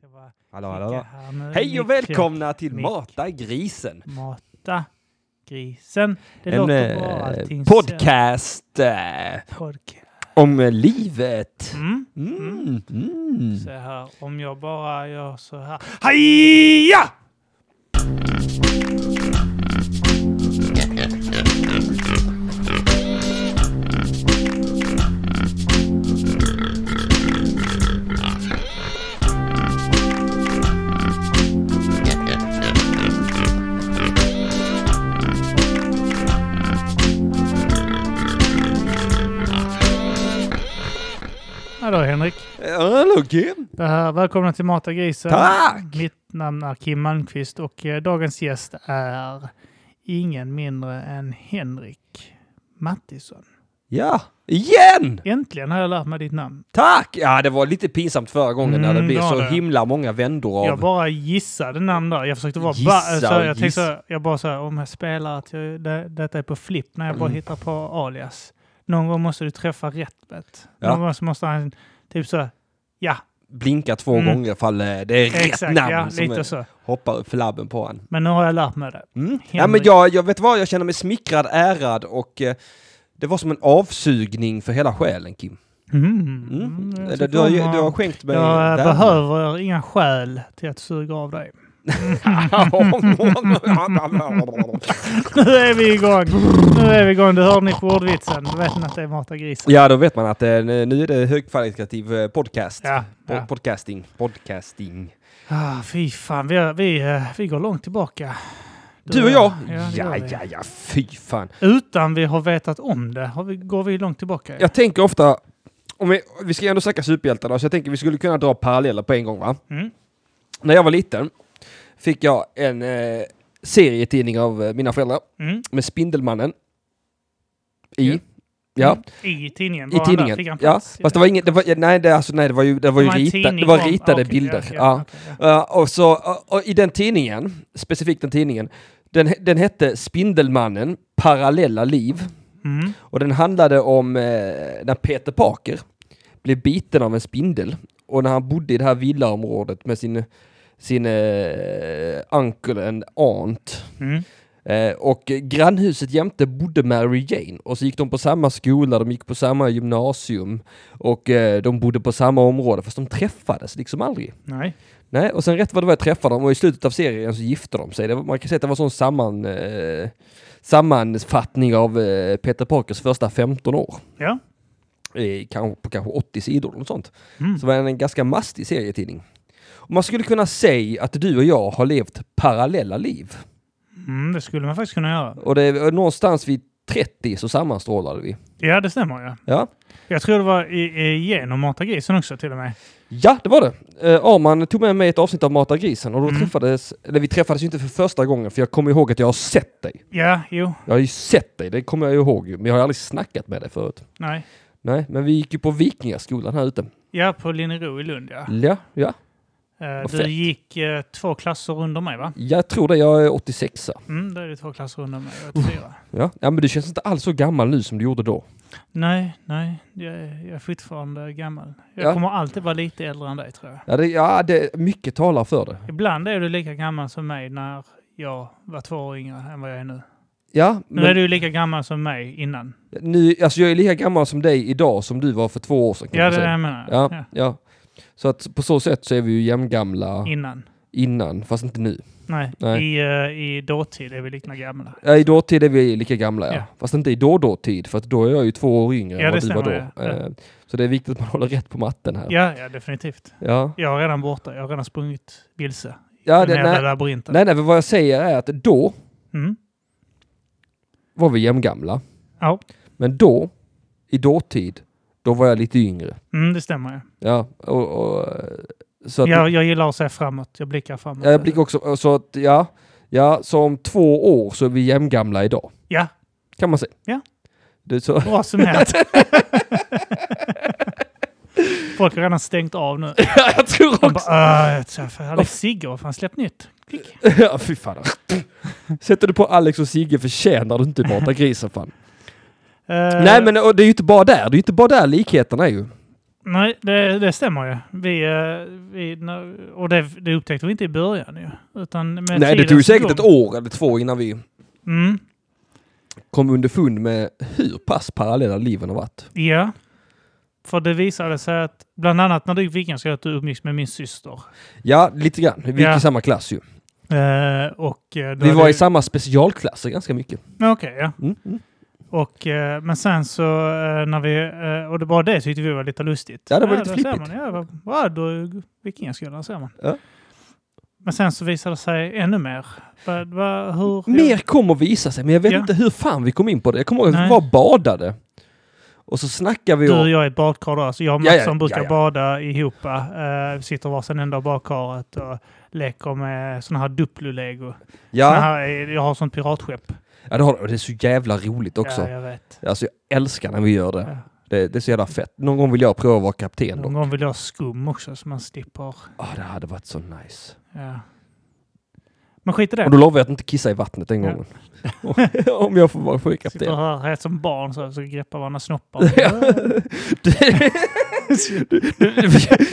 behöva Hallå, hallå, hallå. klicka här nu. Hej och Mycket välkomna till Mycket. Mata grisen. Mata grisen. Det en låter eh, bra allting. podcast eh, Så- Podcast. om eh, livet. Mm. Mm, mm. Så här, om jag bara gör så här. Haja! Hallå Henrik. Hallå Kim. Det här, välkomna till Mata grisen. Tack! Mitt namn är Kim Malmqvist och eh, dagens gäst är ingen mindre än Henrik Mattisson. Ja, igen! Äntligen har jag lärt mig ditt namn. Tack! Ja, det var lite pinsamt förra gången när det Mm, blev det var så det. himla många vändor av... Jag bara gissade namn där. Jag försökte vara... Gissa ba- så och jag, tänkte, gissa. så- jag bara så här, om jag spelar att jag, det, detta är på flipp när jag bara Mm. hittar på alias. Någon gång måste du träffa rätt vet. Ja. Någon gång så måste han typ så, här, ja, Blinka två Mm. gånger ifall eh, det är rätt exakt, namn ja, som lite eh, så. hoppar upp för labben på en. Men nu har jag lärt mig det. Mm. Ja, men Henrik. jag, jag vet vad, jag känner mig smickrad, ärad och eh, det var som en avsugning för hela själen Kim. Mm. Mm. jag Du, tycker du, har, ju- om du har att- skänkt mig jag värme. behöver inga skäl till att suga av dig. Nu är vi igång! Nu är vi igång. Du hörde ni på ordvitsen. Då vet ni att det är Mata grisen. ja, då vet man att eh, nu är det högkvalitativ eh, podcast. Ja, Po- ja. Podcasting. Podcasting. Ah, fy fan, vi, vi, eh, vi går långt tillbaka. Du och jag? Ja, det Ja, gör vi. ja, ja, fy fan. Utan vi har vetat om det har vi, går vi långt tillbaka. Jag tänker ofta, om vi, vi ska ju ändå snacka superhjältar då, så jag tänker vi skulle kunna dra paralleller på en gång va? Mm. När jag var liten fick jag en eh, serietidning av eh, mina föräldrar Mm. med Spindelmannen i. Ja. Ja. Mm. I tidningen? I bara där fick tidningen. han Ja, plats. fast det var inget, det var, nej, det, alltså, nej, det var ju, det var ju en rita, det tidning var om- ritade ah, okej, bilder. ja, ja. ja, okej, ja. Eh, och så, och- och i den tidningen, specifikt den tidningen, den, he- den hette Spindelmannen, parallella liv. Mm. Och den handlade om eh, när Peter Parker blev biten av en spindel. Och när han bodde i det här villaområdet med sin, sin eh, uncle and aunt. Mm. Eh, och grannhuset jämte bodde Mary Jane och så gick de på samma skola, de gick på samma gymnasium och eh, de bodde på samma område fast de träffades liksom aldrig. Nej. Nej, och sen rätt vad det var jag träffade dem och i slutet av serien så gifte de sig. Det var, man kan säga att det var en sån samman, eh, sammanfattning av eh, Peter Parkers första 15 år. Ja. Eh, kanske, på kanske 80 sidor eller något sånt. Mm. Så var den en ganska mastig serietidning. Och man skulle kunna säga att du och jag har levt parallella liv. Mm, det skulle man faktiskt kunna göra. Och det är någonstans vid 30 så sammanstrålade vi. Ja, det stämmer ja. Ja, Jag tror det var i, i, genom Mata grisen också till och med. ja det var det. Eh, Arman tog med mig ett avsnitt av Mata grisen och då Mm. träffades, eller vi träffades ju inte för första gången för jag kommer ihåg att jag har sett dig. Ja, jo. Jag har ju sett dig, det kommer jag ju ihåg ju, men jag har aldrig snackat med dig förut. Nej. Nej, men vi gick ju på Vikingaskolan här ute. Ja, på Linnero i Lund ja. Ja, ja. Eh, Mm. Vad Du fett. gick eh, två klasser under mig va? Jag tror det, jag är 86 Mm, det är det två klasser under mig. Jag är fyra. ja. ja, men du känns inte alls så gammal nu som du gjorde då. Nej, nej. Jag, är- jag är fortfarande gammal. Jag Ja. kommer alltid vara lite äldre än dig tror jag. Ja, det, ja det, mycket talar för det. Ibland är du lika gammal som mig när jag var två år yngre än vad jag är nu. Ja, Nu men är du lika gammal som mig innan. nu, alltså jag är lika gammal som dig idag som du var för två år sedan. kan Ja, man det är säga. det jag menar. Ja, Ja. ja. Så att på så sätt så är vi ju jämngamla Innan. innan, fast inte nu. Nej, Nej. I, eh, i dåtid är vi lika gamla. Ja, I dåtid är vi lika gamla, ja. Ja. Fast inte i då-dåtid, för att då är jag ju två år yngre Ja, än det vad du var då. stämmer, ja. Eh, Så det är viktigt att man håller rätt på matten här. Ja, ja, definitivt. ja. Jag är redan borta. Jag har redan sprungit vilse. ja I det, den jävla nej, labyrinten. nej, nej, men vad jag säger är att då Mm. var vi jämngamla. Ja, Men då, i dåtid, då var jag lite yngre. mm, det stämmer. Ja. Ja, och, och, eh, så att, Jag, jag gillar att se framåt. Jag blickar framåt. Ja, jag blickar också, så att ja, ja, så om två år så är vi jämngamla idag. Ja, Kan man säga. Ja. Det, är så, Bra summerat. Folk har redan stängt av nu. Ja, jag tror De också... bara, "Äh, så här, för Alex Sigge har fan släppt nytt. Klick. ja, fy fan. Sätter du på Alex och Sigge förtjänar du inte Mata grisen fan. Eh, Nej men och det är ju inte bara där, det är ju inte bara där likheterna är ju. Nej, det, det stämmer ju. Vi, eh, vi, när- och det, det upptäckte vi inte i början ju. Utan med Nej, det tidens tog ju säkert ett gång- år eller två innan vi Mm, kom underfund med hur pass parallella liven har varit. ja. För det visade sig att, bland annat när du gick Vikings, att du umgicks med min syster. Ja, lite grann. Vi gick Ja. i samma klass ju. Eh, och, eh, då Vi hade var ju- i samma specialklasser ganska mycket. Ja, Okej, ja. Mm. Mm. Och, eh, men sen så eh, när vi, eh, och det bara det tyckte vi var lite lustigt. Ja, det var lite där flippigt. ser Man, ja, vad- vad, då, vikingaskolan ser man. Ja. Men sen så visade det sig ännu mer. Va, va, hur, Mer kommer visa sig, men jag vet Ja. inte hur fan vi kom in på det. Jag kommer ihåg att vi Nej. var och badade. Och så snackade vi Du och om... jag är ett badkar då, alltså jag och Ja, Mats ja, som brukar ja, ja. bada ihop. Uh, sitter varsin ända av badkaret och leker med sådana här Duplo-lego. Såna Ja, Här, jag har sånt piratskepp. ja det, har, och det är så jävla roligt också. Ja, jag vet. Alltså jag älskar när vi gör det. Ja. det. Det är så jävla fett. Någon gång vill jag prova att vara kapten Någon då. gång vill jag ha skum också så man slipper. Ah, det hade varit så nice. Ja. Men skit i det. Och då lovar jag att inte kissa i vattnet den Ja. gången. om jag får vara sjökapten. Sitter här helt som barn så försöker greppa varandra snoppar. Ja.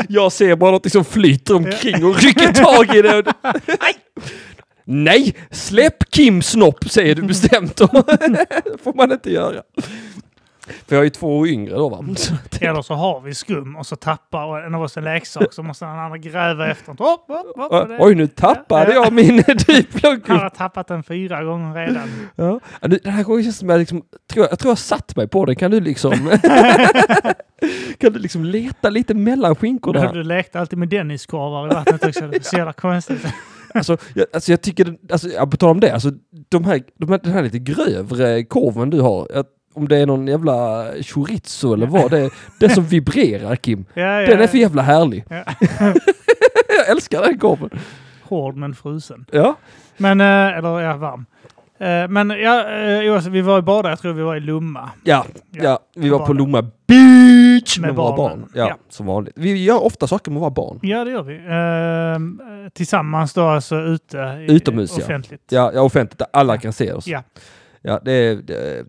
jag ser bara något som flyter omkring och rycker tag i det. Nej! Nej! Släpp Kim Snopp, säger du bestämt. Det får man inte göra. För jag är ju två år yngre då va? Så att- Eller så har vi skum och så tappar en av oss en leksak så måste den andra gräva efter. den. Hopp, hopp, hopp. Och det- Oj, nu tappade jag min typ Han diplogrupp. har tappat den fyra gånger redan. Ja. Ja, nu- Den här gången känns det som jag, liksom, tror jag, jag tror jag satt mig på den. Kan du liksom... kan du liksom leta lite mellan skinkorna? här? Du lekte alltid med Denniskorvar i vattnet också. Det är så jävla konstigt. Alltså, jag, alltså jag tycker, alltså, jag på tal om det, alltså, de här, de här, den här lite grövre korven du har, jag, om det är någon jävla chorizo eller vad det är, det som vibrerar Kim, Ja, ja. den är för jävla härlig. Ja. jag älskar den korven. Hård men frusen. Ja, Men, eh, eller ja, varm. Eh, Men ja, eh, jo, alltså, vi var i Bada, jag tror vi var i Lomma. ja, Ja, ja, vi var på barnen. Lomma Beach med, Med våra barnen. barn. Ja, Ja. som vanligt. Vi gör ofta saker med våra barn. Ja, det gör vi. Eh, Tillsammans då alltså ute. i- Utomhus, ja. Offentligt. Ja, ja offentligt, där alla kan se oss. Ja. ja det, är- det, är-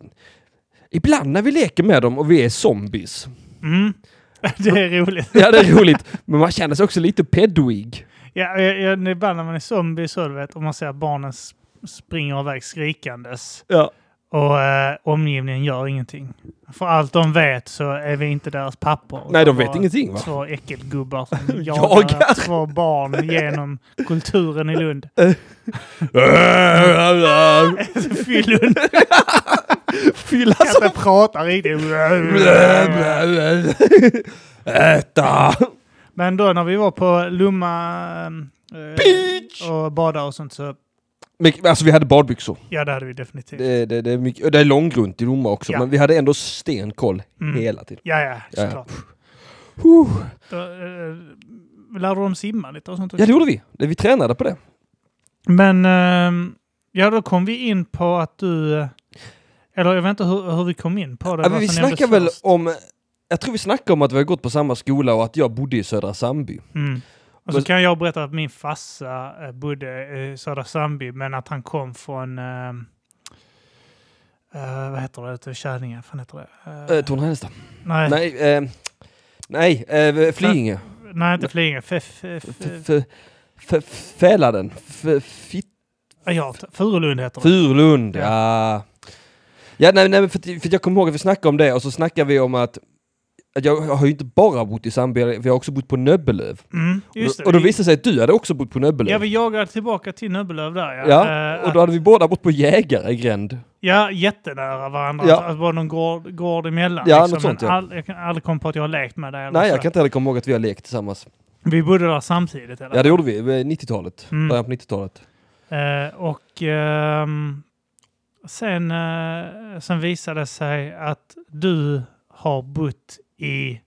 ibland när vi leker med dem och vi är zombies, Mm. Det är roligt. ja det är roligt, men man känner sig också lite pedoig. Ja, jag, jag, ibland när man är zombie så du vet, och man ser att barnen s- springer iväg skrikandes Ja. och eh, omgivningen gör ingenting. För allt de vet så är vi inte deras pappor. Nej, de Bara vet ingenting va? Två äckelgubbar som jagar, Jagar. två barn genom kulturen i Lund. Fyllund Fylla kan som... inte prata riktigt. Äta! Men då när vi var på Lomma eh, Beach! och badade och sånt så, Men, alltså vi hade badbyxor. ja det hade vi definitivt. Det, det, det, är, mycket, och det är långgrunt i Lomma också, Ja. men vi hade ändå stenkoll Mm. hela tiden. Ja, ja, Ja, ja. såklart. Huh. Då, eh, lärde de simma lite och sånt också. Ja, det gjorde vi. Det- Vi tränade på det. Men eh, ja, då kom vi in på att du... eh, Eller jag vet inte hur, hur vi kom in på det. Ja, vad men vi som nämndes snackade väl först. om... Jag tror vi snackade om att vi har gått på samma skola och att jag bodde i Södra Sandby. Mm. Och så Men- kan jag berätta att min farsa eh, bodde i Södra Sandby, men att han kom från... eh, eh, vad heter det? Till Käringen? Fan heter det? Eh, Äh, Torn-Hällestad. nej, nej. Nej, eh, nej eh, Flyinge. inte Flyinge. F- f- F- f- f- f- Fäladen. F- fit- ja, Furulund heter det. Furulund, Ja. ja. Ja, nej, nej, men för, att- för att jag kommer ihåg att vi snackade om det och så snackade vi om att att jag har ju inte bara bott i Sandby, vi har också bott på Nöbbelöv. Mm, just det. och då vi- visade det sig att du hade också bott på Ja, Nöbbelöv. vi jagade tillbaka till Nöbbelöv där ja. Ja, Eh, och då hade vi båda bott på Jägaregränd. Ja, jättenära varandra. Ja. Ja. Alltså, bara någon gård, gård emellan. Ja, något sånt, Men ja. all, jag kan aldrig komma på att jag har lekt med det. eller Nej, så. jag kan inte heller komma ihåg att vi har lekt tillsammans. Vi bodde där samtidigt. Eller? Ja, det gjorde vi, eh, 90-talet. Mm. Början på 90-talet. Eh, och ehm, sen, eh, sen visade det sig att du har bott i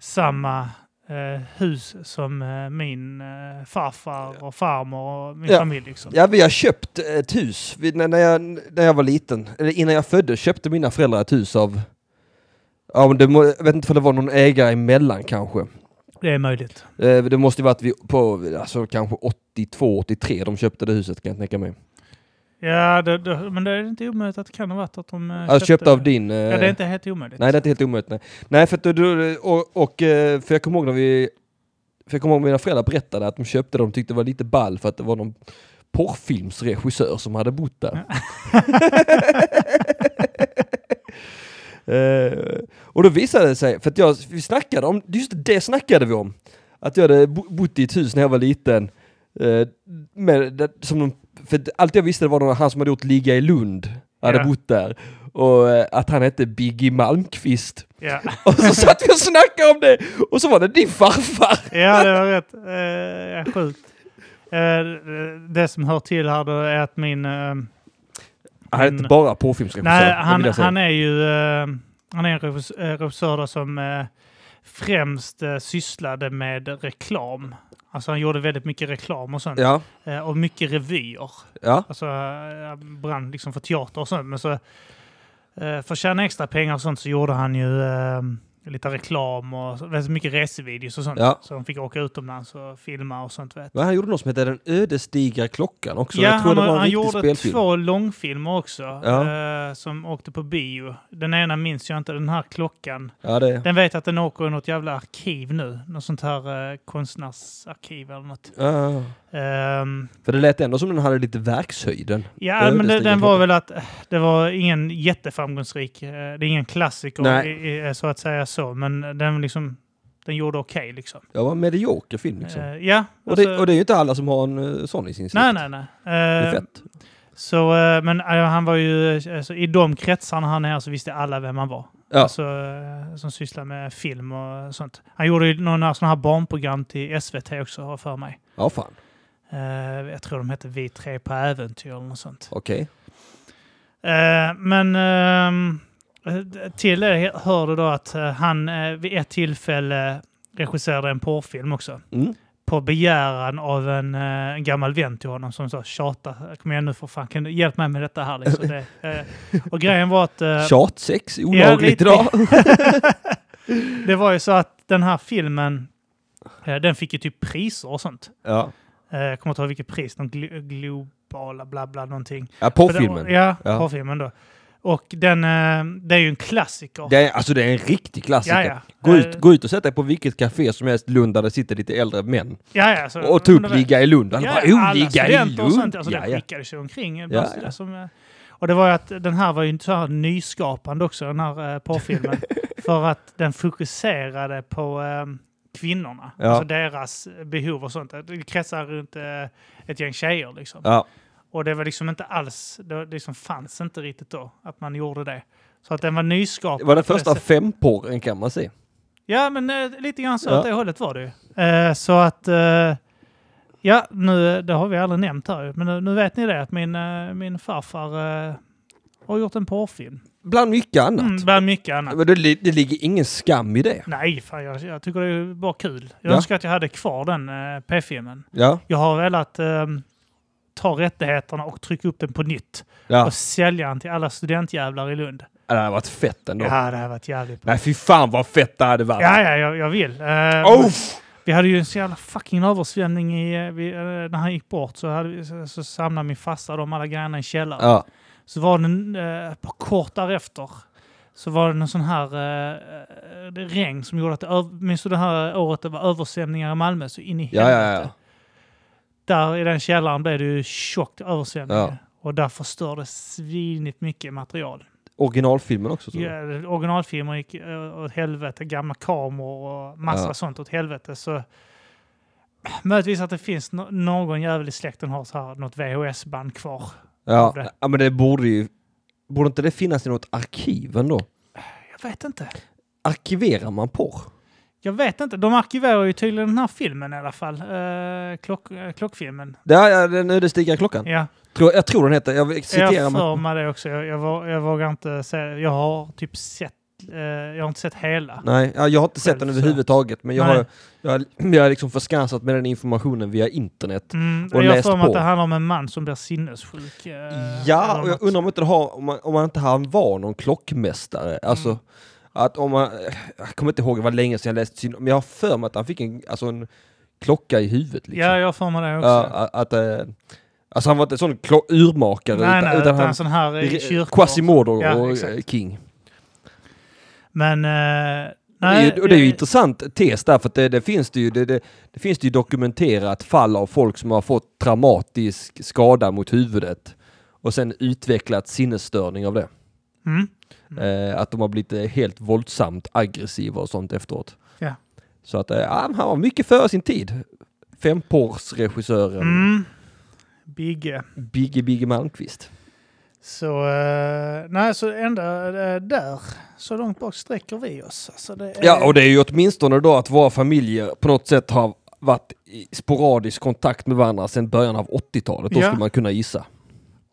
samma eh, hus som eh, min eh, farfar och farmor och min Ja. familj. Liksom. Ja, vi har köpt eh, ett hus. Vi, när, när, jag, när jag var liten, eller innan jag föddes, köpte mina föräldrar ett hus av... Ja, men det, må- jag vet inte om det var någon ägare emellan kanske. Det är möjligt. Eh, Det måste ju varit vi på alltså, kanske 82, 83 de köpte det huset kan jag tänka mig. Ja, det, det, men det är inte omöjligt att det kan ha varit att de eh, Alltså köpte av din... eh, Ja, det är inte helt omöjligt. Nej, det är inte helt omöjligt. Nej, nej för, att du- du, och, och, eh, för jag kommer ihåg när vi... För jag kommer ihåg mina föräldrar berättade att de köpte dem och tyckte det var lite ball för att det var någon porrfilmsregissör som hade bott där. Eh, och då visade det sig, för att jag, vi snackade om, just det snackade vi om. Att jag hade bo- bott i ett hus när jag var liten. eh, Med, det- som de, för att allt jag visste var någon, han som hade gjort Ligga i Lund. Hade Ja. bott där. Och eh, att han hette Biggie Malmqvist. Ja, Och så satt vi och snackade om det. Och så var det din farfar. ja det var rätt. Eh, ja, sjukt. Eh, det som hör till här då är att min... Eh, Han är inte bara porrfilmsregissör. Mm. nej, det vill han, jag säga. han är ju eh, han är en regissör- eh, regissör då som eh, främst eh, sysslade med reklam. Alltså han gjorde väldigt mycket reklam och sånt. Ja, Eh, och mycket revyer. ja. Alltså eh, brann liksom för teater och sånt. Men så, eh, för att tjäna extra pengar och sånt så gjorde han ju eh, lite reklam och så- väldigt mycket resevideos och sånt. Ja. Så de fick åka utomlands och filma och sånt. Vet. Men han gjorde något som hette Den ödesdigra klockan också. ja, jag tror han, det var en han riktig gjorde spelfilm. två långfilmer också Ja. eh, som åkte på bio. Den ena minns jag inte, den här klockan. Ja, det... Den vet jag att den åker i något jävla arkiv nu. Något sånt här eh, konstnärsarkiv eller något. Ja. Ehm, För det lät ändå som den hade lite verkshöjden. Ja, Ödesdigra men det, den var klockan. väl att eh, det var ingen jätteframgångsrik. eh, Det är ingen klassiker Nej. i- i- så att säga så, men den liksom den gjorde okej liksom. Jag var en medioker film liksom. Eh, Ja, och, det, alltså- och det är ju inte alla som har en eh, sån i sin släkt. nej, nej, nej. Det Eh, är fett. Så, eh, men eh, han var ju, eh, alltså, i de kretsarna han är så visste alla vem han var. Ja. Alltså, eh, som sysslar med film och sånt. Han gjorde ju några sådana här barnprogram till SVT också, har jag för mig. Ja, fan. Eh, Jag tror de hette Vi tre på äventyr eller något sånt. Okej. Eh, men ehm, eh, till det hör du då att eh, han eh, vid ett tillfälle regisserade en porrfilm också. Mm. På begäran av en eh, gammal vän till honom som sa tjata, kom igen nu för fan, kan du hjälp mig med detta här liksom. det, eh, Och grejen var att eh, Tjatsex är olagligt lite. idag. det var ju så att den här filmen, eh, den fick ju typ priser och sånt. ja. Eh, Jag kommer inte ihåg vilket pris, någon glo- globala bla bla någonting. ja, För den var- porrfilmen. Ja, Ja. porrfilmen då. Och den, eh, det är ju en klassiker. Det är, alltså det är en riktig klassiker. Ja, ja. Gå, ut, Eh, gå ut och sätt dig på vilket café som helst i Lund där det sitter lite äldre män. Eh, Ja, ja, så, Och ta upp men det- Ligga i Lund. Alla Ja, bara, ja, oh, alla Ligga i studenter och Lund! sånt. Alltså, ja, den ja. skickades ju omkring. Ja, Ja, ja. Som, eh, och det var ju att den här var ju inte så här nyskapande också, den här eh, porrfilmen. för att den fokuserade på eh, kvinnorna. Ja. Alltså deras behov och sånt. Det kretsar runt eh, ett gäng tjejer liksom. Ja. Och det var liksom inte alls, det var- det liksom fanns inte riktigt då att man gjorde det. Så att den var nyskapande. Det var den på det första femporren kan man se. Ja, men eh, lite grann så Ja. åt det hållet var det ju. Eh, så att, eh, ja, nu, det har vi aldrig nämnt här ju, men nu, nu vet ni det att min, eh, min farfar eh, har gjort en porrfilm. Bland mycket annat. Mm, bland mycket annat. Men det, li- det ligger ingen skam i det. Nej, fan, jag, jag tycker det är bara kul. Jag Ja. önskar att jag hade kvar den eh, p-filmen. Ja, Jag har velat eh, ta rättigheterna och trycka upp den på nytt ja. och sälja den till alla studentjävlar i Lund. det hade varit fett ändå. Ja, det hade varit jävligt bra. Nej, fy fan vad fett det hade varit. Ja, ja, jag, jag vill. Eh, Oh! Vi hade ju en så jävla fucking översvämning i, eh, vi, eh, när han gick bort så, hade vi, så, så samlade min farsa de alla grejerna i källaren. Ja. Så var den, eh, på kort därefter, så var det en sån här eh, eh, det regn som gjorde att, det öv- minns du det här året det var översvämningar i Malmö så in i Ja, ja, ja. Där i den källaren blev det ju tjockt översvämning. Ja. Och där förstördes svinigt mycket material. Originalfilmen också. tror jag. Ja, originalfilmer gick eh, åt helvete, gamla kameror och massa Ja. sånt åt helvete. Så möjligtvis att det finns no någon jävel i släkten har så här något VHS-band kvar. Ja. det. ja, men det borde ju... Borde inte det finnas i något arkiv ändå? Jag vet inte. Arkiverar man porr? Jag vet inte. De arkiverar ju tydligen den här filmen i alla fall. Eh, klock, eh, klockfilmen. Ja, ja, den ödesdigra klockan. Ja, Tror, jag tror den heter... Jag citerar jag mig. för mig det också. Jag, jag, vå- jag vågar inte säga. Jag har typ sett, eh, jag har inte sett hela. Nej, ja, jag har inte sett Själv den så. överhuvudtaget. Men jag Nej. har, jag, har, jag har liksom förskansat med den informationen via internet. Mm, Och jag läst för mig att på. det handlar om en man som blir sinnessjuk. eh, Ja, eller och något. jag undrar om, inte det har, om, man, om man inte han var någon klockmästare. Alltså, Mm. att om man, jag kommer inte ihåg, det var länge sedan jag läste syn, men jag har för mig att han fick en, alltså en klocka i huvudet. Liksom. Ja, jag har för mig det också. Ja, att, eh, Alltså han var inte en sån klo- urmakare nej, nej, utan, utan han... en sån här eh, kyrka. Quasimodo Ja, och eh, exakt. King. Men... eh, det är nej, ju, och det är ju intressant tes där, för att det, det, finns det, ju, det, det, det finns det ju dokumenterat fall av folk som har fått traumatisk skada mot huvudet och sen utvecklat sinnesstörning av det. Mm. Eh, att de har blivit eh, helt våldsamt aggressiva och sånt efteråt. Ja. Så att eh, ja, han var mycket före sin tid. Fempors-regissören Mm. Bigge. Bigge Bigge Malmqvist. Så, eh, nej, så ända eh, där, så långt bak sträcker vi oss. Alltså det är, Ja, och det är ju åtminstone då att våra familjer på något sätt har varit i sporadisk kontakt med varandra sedan början av 80-talet. Då Ja. skulle man kunna gissa.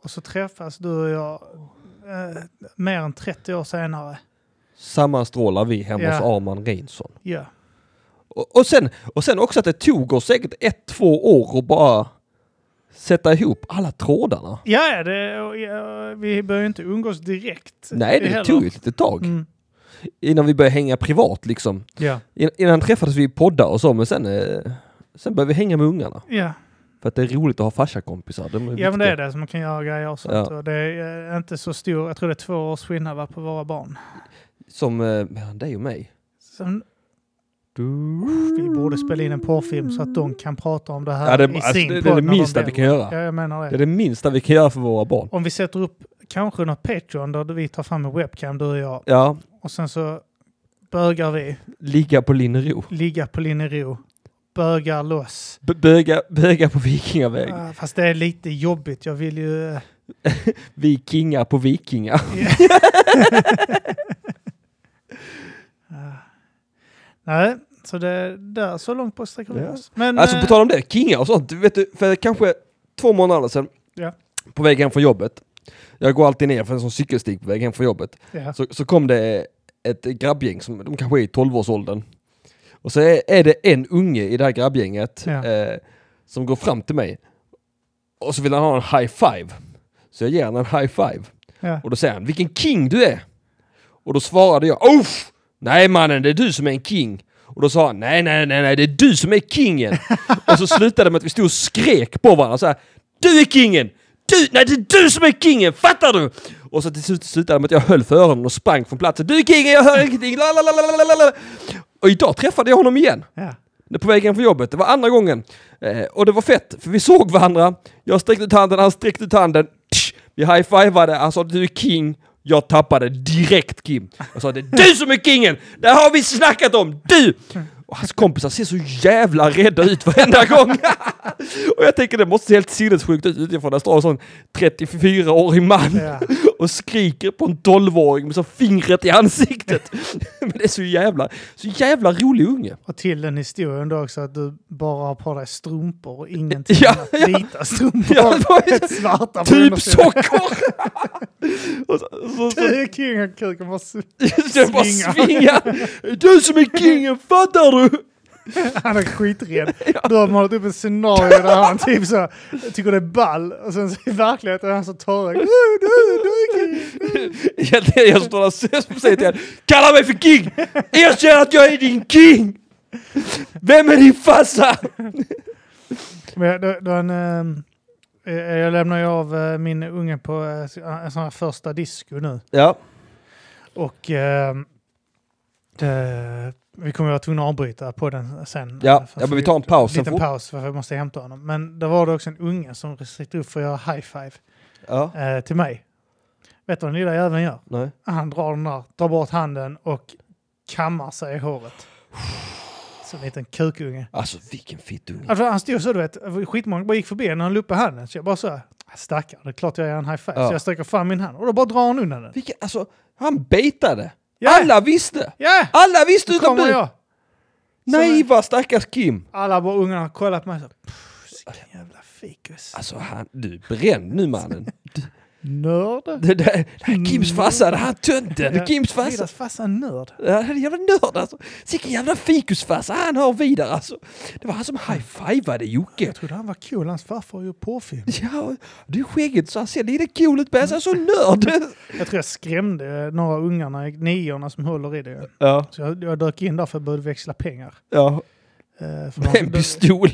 och så träffas du och jag eh, mer än 30 år senare. sammanstrålar vi hemma Ja. hos Arman Reinsson. Ja, Och, och, sen, och sen också att det tog oss säkert ett, två år att bara sätta ihop alla trådarna. ja ja, det, och, ja, vi börjar ju inte umgås direkt. Nej, det heller. tog ett litet tag Mm. innan vi började hänga privat liksom. Ja. In- Innan träffades vi i poddar och så, men sen, eh, sen började vi hänga med ungarna. Ja. För att det är roligt att ha farsakompisar. De är ja, men det viktiga. är det. Så man kan göra grejer och sånt. Ja. Och det är eh, inte så stor, jag tror det är två års skillnad va, på våra barn. Som eh, mellan dig och mig. Sen, Du... vi borde spela in en porrfilm så att de kan prata om det här Ja, det, i alltså, sin det, det är podd det när de minsta vi väljer. kan göra. Ja, jag menar Det det. är det minsta vi kan göra för våra barn. Om vi sätter upp kanske något Patreon där vi tar fram en webcam, du och jag, Ja, och sen så bögar vi, ligga på Linnero. ligga på Linnero, bögar loss. B- böga, böga på Vikingaväg. Ah, Fast det är lite jobbigt, jag vill ju... eh, Vikingar på vikingar. ah. Nej, så det där, så långt på sträcker vi Ja. oss. Men, Alltså på eh, tal om det, kingar och sånt. Vet du, för kanske två månader sedan, Ja. på väg hem från jobbet. Jag går alltid ner för en sån cykelstig på väg hem från jobbet. ja. Så, så kom det ett grabbgäng, som, de kanske är i 12-årsåldern. Och så är, är det en unge i det här grabbgänget Ja. eh, som går fram till mig. Och så vill han ha en high five. Så jag ger honom en high five. Ja. Och då säger han, vilken king du är! Och då svarade jag, uff! Nej mannen, det är du som är en king! Och då sa han, nej nej nej nej, det är du som är kingen! och så slutade det med att vi stod och skrek på varandra så här, du är kingen! Du, nej det är du som är kingen, fattar du? Och så till slut slutade det med att jag höll för öronen och sprang från platsen, du är kingen, jag hör ingenting, la la la la la la la! Och idag träffade jag honom igen. Ja. På vägen från jobbet, det var andra gången. Eh, och det var fett, för vi såg varandra. Jag sträckte ut handen, han sträckte ut handen. Tsch! Vi high-fivade, han sa du är king. Jag tappade direkt Kim. Jag sa det är du som är kingen! Det har vi snackat om! Du! Och hans kompisar ser så jävla rädda ut varenda gång. och jag tänker det måste se helt sinnessjukt ut utifrån. Där står en sån 34-årig man Ja. och skriker på en 12-åring med så fingret i ansiktet. Men det är så jävla, så jävla rolig unge. Och till den historien då också att du bara har på dig strumpor och ingenting Ja, annat. ja. Vita strumpor. Ja, det var ju Helt svarta på Typ undersidan. sockor! och så, så, så, Du är King och kuken bara... s- så bara Svingar. svingar. Du som är kingen, fattar du? Han är skiträdd. Du har målat upp ett scenario där han typ så tycker det är ball och sen så i verkligheten är han så torrögd. Du, du, du är king. Jag, jag står där och säger till honom, kalla mig för king! Erkänn att jag är din king! Vem är din farsa? Men då, då han, eh, eh, jag lämnar ju av eh, min unge på eh, en sån här första disco nu. Ja, Och eh, det, vi kommer vara tvungna att avbryta på den sen. Ja, Eh, för ja, men så vi tar en paus, sen Liten får- paus, för jag måste hämta honom. Men då var det också en unge som sitter upp för att göra high-five ja, eh, till mig. Vet du vad den lilla jäveln gör? nej. Han drar den där, tar bort handen och kammar sig i håret. Som en liten kukunge. Alltså vilken fittunge. Alltså, han stod så, du vet, skitmånga bara gick förbi när han la upp handen. Så jag bara så här, stackare, det är klart jag gör en high five. Ja. Så jag sträcker fram min hand och då bara drar han undan den. Vilken, alltså, han baitade. Ja. Alla visste! Ja, Alla visste då utom kommer du! jag. Naiva stackars Kim. Alla bara ungarna har kollat på mig så här, "Pff, vilken jävla fikus. Alltså han, du är bränd nu mannen. Nörd. Det där, det Mm. här är Kims farsa, det här är tönten, det är Kims farsa. Vidas farsa är nörd. Ja, Han är en jävla nörd alltså. Vilken jävla fikusfarsa han har vidare alltså. Det var han som high-fivade Jocke. Jag trodde han var cool, hans farfar gjorde porrfilm. Ja, du är skägget så han ser lite cool ut men han är så nörd. Jag tror jag skrämde några ungarna, niorna som håller i det. Ja, Så jag, jag dök in där för att börja växla pengar. ja. Eh, för Med en man, pistol.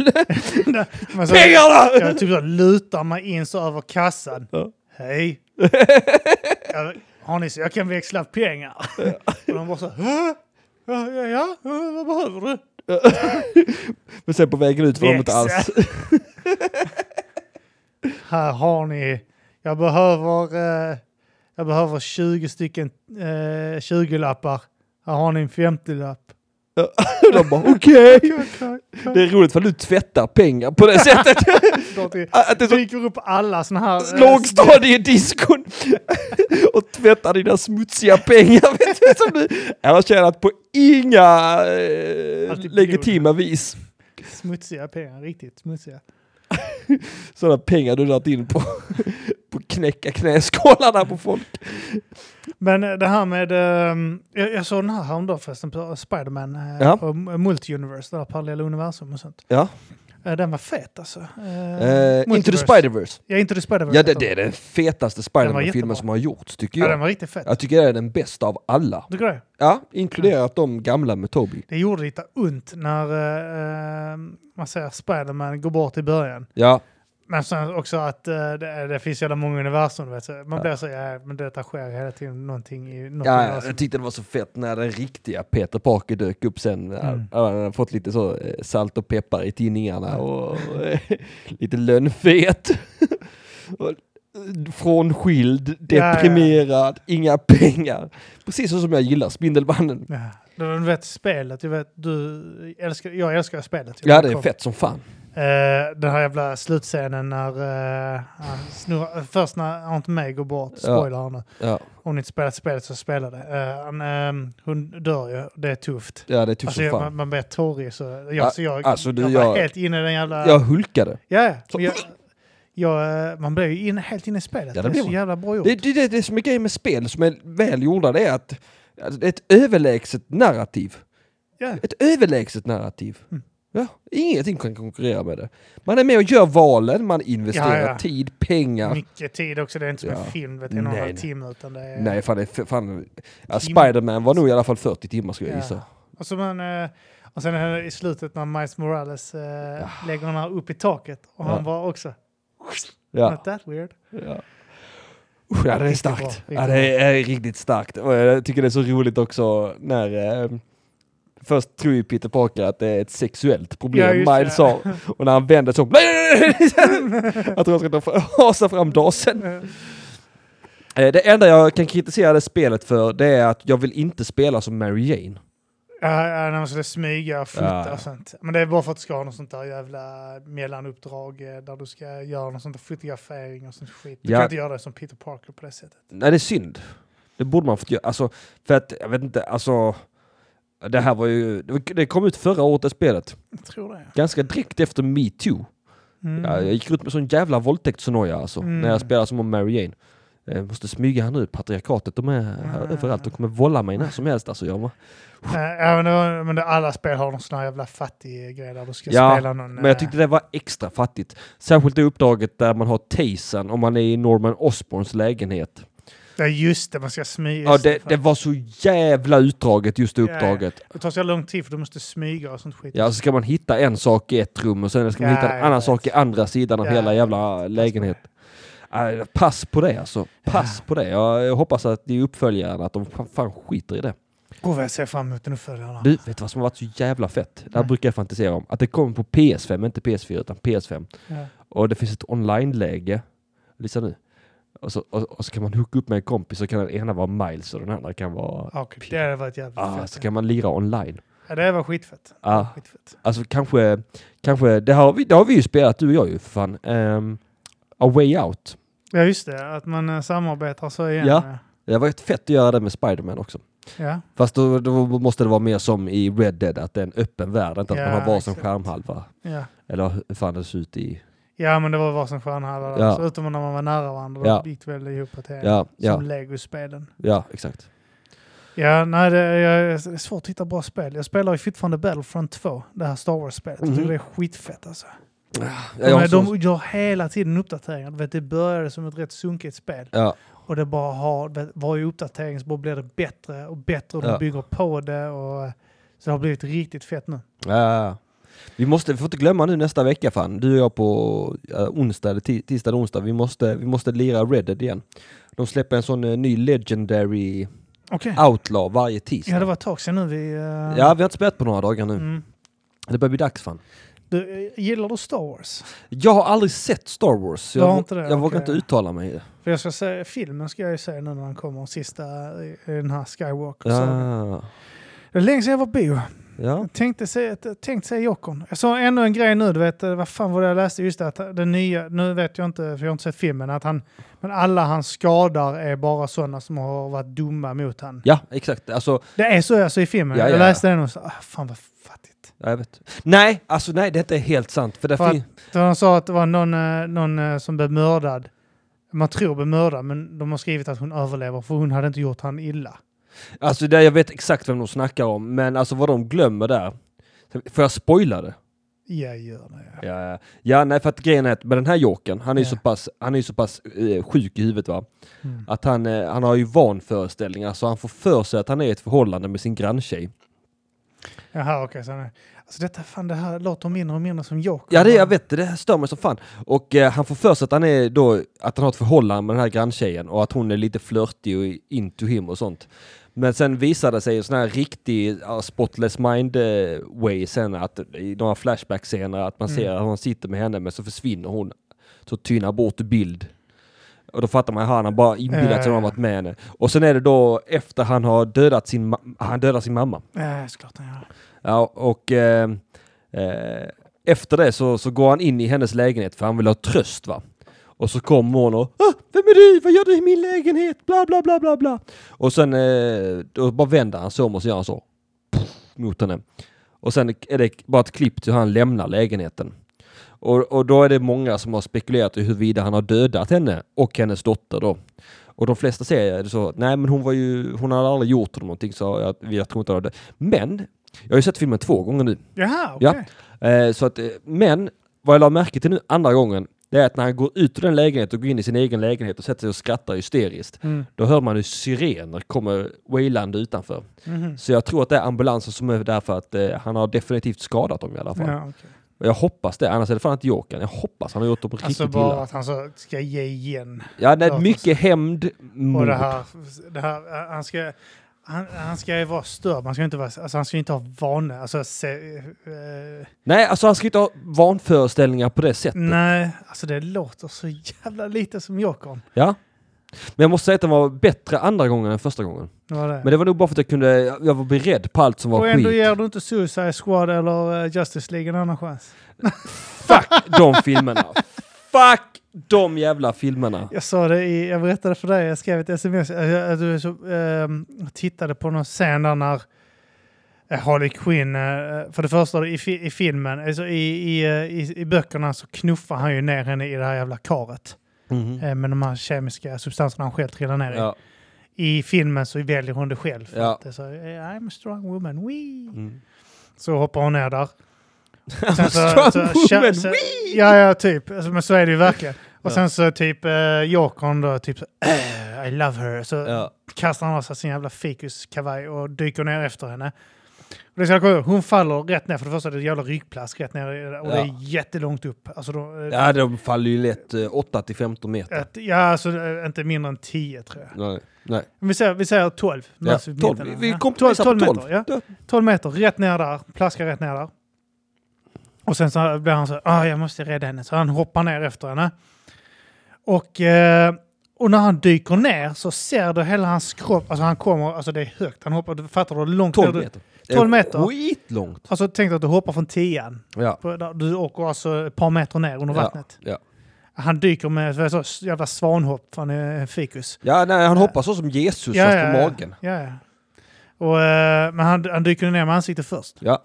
man så, Pengarna! jag typ så lutar mig in så över kassan. Ja. Hej! jag, har ni så jag kan växla pengar? och de bara så... "Hä? Ja, ja, ja, vad behöver du? Men sen på vägen ut var de inte Växel. alls. Här har ni. Jag behöver, eh, jag behöver 20 stycken eh, 20-lappar. Här har ni en 50-lapp. De bara okej. Tack, Det är roligt för du tvättar pengar på det sättet. tack. Att det är så Dyker upp alla såna här... eh, lågstadiediskon och tvättar dina smutsiga pengar vet du, som du har tjänat på inga eh, Alltid legitima vis. Smutsiga pengar, riktigt smutsiga. Sådana pengar du dragit in på, på knäcka knäskålarna på folk. Men eh, det här med... ehm, jag, jag såg den här häromdagen förresten på Spiderman eh, Ja. och Multiuniverse, det där parallella universum och sånt. Ja. Eh, den var fet alltså. Eh, Eh, Into the Multiverse. Spider-Verse. Ja, inte the Spiderverse. Ja, det, det är den fetaste jättebra. Spider-Man-filmen som har gjorts tycker Ja, den jag. var riktigt fet. Jag tycker det är den bästa av alla. Tycker du det? Ja, inkluderat de gamla med Toby. Det gjorde lite ont när eh, man säger Spiderman går bort i början. Ja, Men sen också att eh, det, det finns jävla många universum. Vet du. Man blir så, ja men detta sker hela tiden någonting i något Ja, ja, universum. jag tyckte det var så fett när den riktiga Peter Parker dök upp sen. Mm. Han hade fått lite så eh, salt och peppar i tidningarna och eh, lite lönnfet. Och, eh, Frånskild, ja. deprimerad, inga pengar. Precis så som jag gillar Spindelmannen. Ja. Du vet spelet, du vet, du älskar, jag älskar spelet. Ja, det är fett som fan. Eh, den här jävla slutscenen när eh, han snurrar, först när Aunt May går bort, Ja. spoiler här nu. Ja, Om ni inte spelat spelet så spela det. Eh, han, eh, hon dör ju, det är tufft. ja det är tufft Alltså, Typ som jag, fan. man, man blir torrig så... Jag, Ja, så jag, alltså, du, jag var jag- helt inne i den jävla... Jag Ja, hulkade. ja. Så- Jag, jag, eh, man blir ju in, helt inne i spelet. Ja, det det, blir är så man. jävla bra gjort. Det, det, det, det som är grejen med spel som är välgjorda det är att alltså, det är ett överlägset narrativ. Ja. Ett överlägset narrativ. Mm. Ja, ingenting kan konkurrera med det. Man är med och gör valen, man investerar Ja, ja. tid, pengar. Mycket tid också. Det är inte som Ja. en film, vet du, någon Nej, halv nej. timme. Utan det är... Nej, fan, det är f- fan. Timmar. Ja, Spiderman var nog i alla fall 40 timmar skulle jag Ja. gissa. Och, så man, eh, och sen är det i slutet när Miles Morales eh, lägger den här upp i taket. Och Ah. Ja. han var också... Ja. Not that weird. Ja. Usch, ja, det är Riktigt bra, starkt. riktigt Ja, det är riktigt starkt. Och jag tycker det är så roligt också när eh, Först tror ju Peter Parker att det är ett sexuellt Ja, problem just det. Miles har. Och när han vänder så... Nej, nej, nej! Att han ska ta fram- hasa fram dasen. Eh, Eh, Det enda jag kan kritisera det spelet för det är att jag vill inte spela som Mary Jane. Ja, ja, när man skulle smyga och flytta Ja. och sånt. Men det är bara för att du ska ha något sånt där jävla mellanuppdrag eh, där du ska göra något sånt där fotografering och sånt skit. Du Ja. kan inte göra det som Peter Parker på det sättet. Nej, det är synd. Det borde man fått göra. Alltså, för att, jag vet inte, alltså... Det här var ju... det var- Det kom ut förra året, det spelet. Jag tror det. Ganska direkt efter metoo. Mm. Ja, jag gick runt med sån jävla våldtäktsnoja alltså, Mm. när jag spelade som om Mary Jane. Jag måste smyga här nu, patriarkatet, de är här Mm. överallt, de kommer vålla mig när som helst. Alltså, jag var... Eh, ja, men, det var, men det, alla spel har någon sån här jävla fattig eh, grej där du ska Ja, spela någon... eh, Men jag tyckte det var extra fattigt. Särskilt det uppdraget där man har Taysen om man är i Norman Osborns lägenhet. eh, Ja, just det, man ska smyga. Ja, det, istället det för- var så jävla utdraget just det Ja, ja. uppdraget. det tar så jävla lång tid för du måste smyga och sånt skit. Ja, så ska man hitta en sak i ett rum och sen ska man Ja, hitta en jag annan vet. sak i andra sidan av Ja, hela jag jävla lägenheten. Aj, Pass på det alltså. Pass på det. Jag jag hoppas att det är uppföljaren, att de fan- fan skiter i det. Åh, vad jag ser fram emot den uppföljarna. Du, vet du vad som har varit så jävla fett? Det här Nej. brukar jag fantisera om. Att det kommer på PS5, inte PS4 utan PS5. Ja. Och det finns ett online-läge. Lyssna nu. Och så, och, och så kan man hooka upp med en kompis och kan den ena vara Miles och den andra kan vara... Ja, okej, det hade varit jävligt Ah, fett. så kan man lira online. Ja, det var skitfett. Ah, skitfett. alltså kanske... kanske det, har vi, det har vi ju spelat, du och jag ju för fan. Ehm, A Way Out. Ja, just det. Att man eh, samarbetar så igen. eh. Ja. Det var ett fett att göra det med Spiderman också. ja. Fast då, då måste det vara mer som i Red Dead, att det är en öppen värld. Inte att Ja, man har varsin exakt. skärmhalva. ja. Eller hur fan det ser ut i... Ja, men det var varsin stjärnhalva där. Ja. Så utom när man var nära varandra, då Ja. gick det väl ihop till en. Ja, ja. Som Lego-spelen. Ja, exakt. Ja, nej, det är, det är svårt att hitta bra spel. Jag spelar ju fortfarande Battlefront 2, det här Star Wars-spelet. Jag tycker Mhm. det är skitfett alltså. Ja, jag de, har de gör hela tiden uppdateringar. Du vet, det började som ett rätt sunkigt spel. ja, Och det bara har, det- varje uppdatering så bara blir det bättre och bättre. och Ja. De bygger på det och så det har blivit riktigt fett nu. ja, ja. Vi måste, vi får inte glömma nu nästa vecka fan, du och jag på eh, onsdag, eller ti- tisdag eller onsdag, vi måste, vi måste lira Red Dead igen. De släpper en sån eh, ny Legendary Okej. Outlaw varje tisdag. Ja, det var ett tag sedan nu vi... eh, Ja, vi har inte spelat på några dagar nu. mm. Det börjar bli dags fan. du, eh, gillar du Star Wars? Jag har aldrig sett Star Wars, så Du har jag, inte det? jag vågar Okej. inte uttala mig. För jag ska säga, filmen ska jag ju se nu när den kommer, sista eh, i i den här Skywalker. Ja. Ja, Det är länge sedan jag var på bio. ja. Jag tänkte se, ett- tänkte se Jokern. Jag såg ännu en grej nu, du vet, eh, vad fan var det jag läste? Just det, att den nya, nu vet jag inte, för jag har inte sett filmen, att han, men alla hans skadar är bara sådana som har varit dumma mot han. ja exakt. Alltså, Det är så alltså i filmen. Ja, ja, Jag ja. läste den och så, ah, fan vad fattigt. ja, jag vet. Nej, alltså nej, detta är helt sant. För det För fin- Så de sa att det var någon, eh, någon eh, som blev mördad. Man tror blev mördad, men de har skrivit att hon överlever för hon hade inte gjort han illa. Alltså det, jag vet exakt vem de snackar om, men alltså vad de glömmer där. Får jag spoila det? Jag gör det. ja. Ja, ja. ja nej för att grejen är att med den här jokern, han är ju Ja. så pass, han är ju så pass eh, sjuk i huvudet va. Mm. Att han, eh, han har ju vanföreställningar så han får för sig att han är i ett förhållande med sin granntjej. Jaha, okej. så nej. Alltså detta, fan, det här låter mindre och mindre som Joker. Ja det jag vet, det här stör mig som fan. Och eh, han får för sig att han är då, att han har ett förhållande med den här granntjejen och att hon är lite flörtig och into him och sånt. Men sen visar det sig en sån här riktig ja, spotless mind eh, way sen att i några flashback-scener att man ser att han sitter med henne men så försvinner hon. Så tynar bort bild. Och då fattar man att han har bara inbillat sig att han har varit med henne. Och sen är det då efter han har dödat sin, ma- han dödar sin mamma. Ja, såklart han gör. Ja, och eh, eh, efter det så, så går han in i hennes lägenhet för han vill ha tröst va. Och så kommer hon och ah, Vem är du? Vad gör du i min lägenhet? Bla bla bla bla bla. Och sen eh, då bara vänder han sig om och så gör han så. Puff, mot henne. Och sen är det bara ett klipp till hur han lämnar lägenheten. Och, och då är det många som har spekulerat i huruvida han har dödat henne och hennes dotter då. Och de flesta säger så, nej men hon var ju, hon hade aldrig gjort någonting så jag, jag tror inte hon hade. Men, jag har ju sett filmen två gånger nu. Jaha, okej. Eh, så att, eh, men, vad jag la märke till nu andra gången, det är att när han går ut ur den lägenheten och går in i sin egen lägenhet och sätter sig och skrattar hysteriskt, Mm. då hör man hur sirener kommer wailande utanför. Mhm. Så jag tror att det är ambulansen som är där för att eh, han har definitivt skadat dem i alla fall. Ja, okej. Och jag hoppas det, annars är det fan inte Jokern. Jag hoppas han har gjort dem riktigt Alltså bara illa. att han så ska ge igen. Ja, Ja, nej, mycket hämnd, Och mord. det här, det här han, ska, han, han ska ju vara störd, man ska inte vara, alltså han ska ju inte ha vana, alltså se, eh, Nej, alltså han ska inte ha vanföreställningar på det sättet. nej, alltså det låter så jävla lite som Jokern. Ja. Men jag måste säga att den var bättre andra gången än första gången. Det var det. Men det var nog bara för att jag kunde, jag var beredd på allt som var och skit. ändå ger du inte Suicide Squad eller eh, Justice League en annan chans. Fuck de filmerna! Fuck de jävla filmerna! Jag sa det i, jag berättade för dig, jag skrev ett sms, eh, jag, du är så, ehm, jag tittade på någon scen där när eh, Harley Quinn, eh, för det första i, fi- i filmen, alltså i, i, eh, i, i böckerna så knuffar han ju ner henne i det här jävla karet. Mhm. eh, med de här kemiska substanserna han själv trillar ner i. Ja. I filmen så väljer hon det själv. För Ja. att det är så, eh, I'm a strong woman, wee! Mm. Så hoppar hon ner där. a strong woman, wee! Ja, ja, typ. Alltså, men så är det ju verkligen. Och Ja. sen så typ eh, Jokern då, typ så, "Eh, I love her. Så Ja. kastar han av sig sin jävla fikuskavaj och dyker ner efter henne. Och det ska jag komma ihåg, hon faller rätt ner, för det första är det ett jävla ryggplask rätt ner i- och det är Ja. jättelångt upp. Alltså, då, eh, ja, de faller ju lätt 8 till 15 meter. ett, ja, alltså eh, inte mindre än 10 tror jag. Nej. Nej. Men Vi säger, vi säger 12. Ja. Möts vid 12. mitten. Vi Ja. kompromissar på 12. meter. Ja. 12 meter, rätt ner där. Plaskar rätt ner där. Och sen så blir han så här, ah, jag måste rädda henne. Så han hoppar ner efter henne. Och, eh, och när han dyker ner så ser du hela hans kropp, alltså han kommer, alltså det är högt, han hoppar, du fattar du hur långt 12 ner du- meter. 12 meter. Skitlångt! Alltså tänk dig att du hoppar från tian. Ja. På- där- Du åker alltså ett par meter ner under vattnet. Ja. Han dyker med så, så jävla svanhopp, för han är en fikus. ja, nej, han hoppar så som Jesus fast på magen. Ja, ja. Och, eh, men han, han dyker ner med ansiktet först. Ja.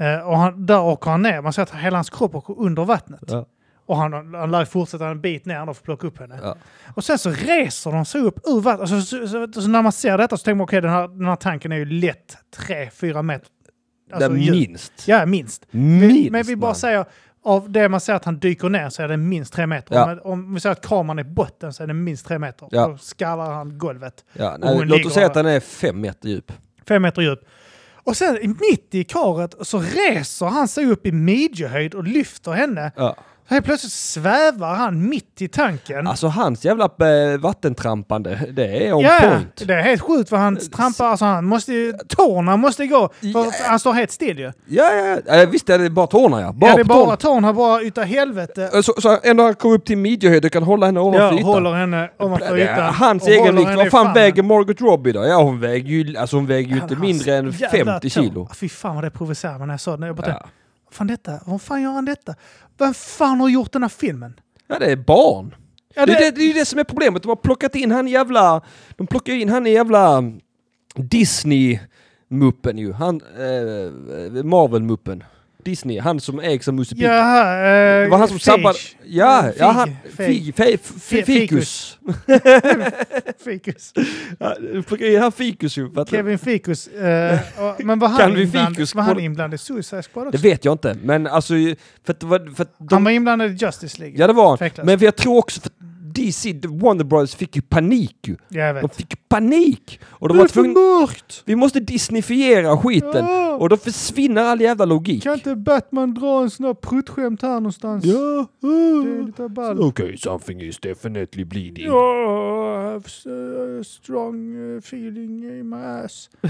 Eh, och han, där åker han ner. Man ser att hela hans kropp åker under vattnet. Ja. Och han, han lär fortsätta en bit ner då för att plocka upp henne. Ja. Och sen så reser de sig upp ur vattnet. Alltså, så, så, så, så när man ser detta så tänker man okej den, här, den här tanken är ju lätt 3-4 meter. Alltså, djup. minst. Ja, minst. Minst! Men vi bara man. säger, av det man ser att han dyker ner så är det minst tre meter. Ja. Om, om vi säger att kameran är botten så är det minst tre meter. Ja. Då skallar han golvet. Ja, Och nej, hon låt ligger oss säga där. att den är 5 meter djup. fem meter djup. Och sen i- mitt i karet så reser han sig upp i midjehöjd och lyfter henne. Ja. Helt plötsligt svävar han mitt i tanken. Alltså hans jävla eh, vattentrampande, det är on Ja, point. det är helt sjukt vad han trampar. Alltså han måste ju, tårna måste gå. För att han står helt still ju. Ja, ja, ja. Eh, Visst är det bara tårna ja. Bara Ja, det är på bara tårna. tårna, bara utav helvete. Eh, Så, så ändå han kommer upp till midjehöjd och kan hålla henne ovanför Jag ytan. håller henne ovanför Det är ytan. Hans och håller egen vikt. henne i Vad fan famnen. väger Margot Robbie då? Ja, hon väger ju, alltså hon väger ju inte Hans mindre än jävla 50 tår. kilo. Ah, Fy fan vad det provocerade mig när jag såg den. Jag bara Ja. tänkte, vad fan detta? Vad fan gör han detta? Vem fan har gjort den här filmen? Ja, det är barn. Ja, det... det- Det, det, är ju det som är problemet. De har plockat in han jävla... De plockar ju in han i jävla mm, Disney-muppen ju. Han... Eh, Marvel-muppen. Disney. Han som ägs av Musse Pigg. Jaha, eh, typ Det var han som Fage. sabbade... Ja, Eh, ja, fig- han... fig- Fig, fe, fe, Fi- fikus. Fikus. Ja, de plockar in han fikus ju. för att- Kevin Fikus. eh, och- men var han, Kan vi inblandad, Fikus var på- han inblandad i Suicide Squad Det också? vet jag inte. Men alltså... För att, det var- för att de Han var inblandad i Justice League. Ja det var han. Utvecklas. Men jag tror också för DC, The Wonder Brothers fick ju panik ju. Ja, jag De vet. fick ju panik! Och de var tvungna... mörkt! Vi måste disneyfiera skiten. Ja. Och då försvinner all jävla logik. Kan inte Batman dra en sån där pruttskämt här någonstans? Ja. Det är lite ball. Okay, something is definitely bleeding. Ja, I have s- a strong uh, feeling in my ass.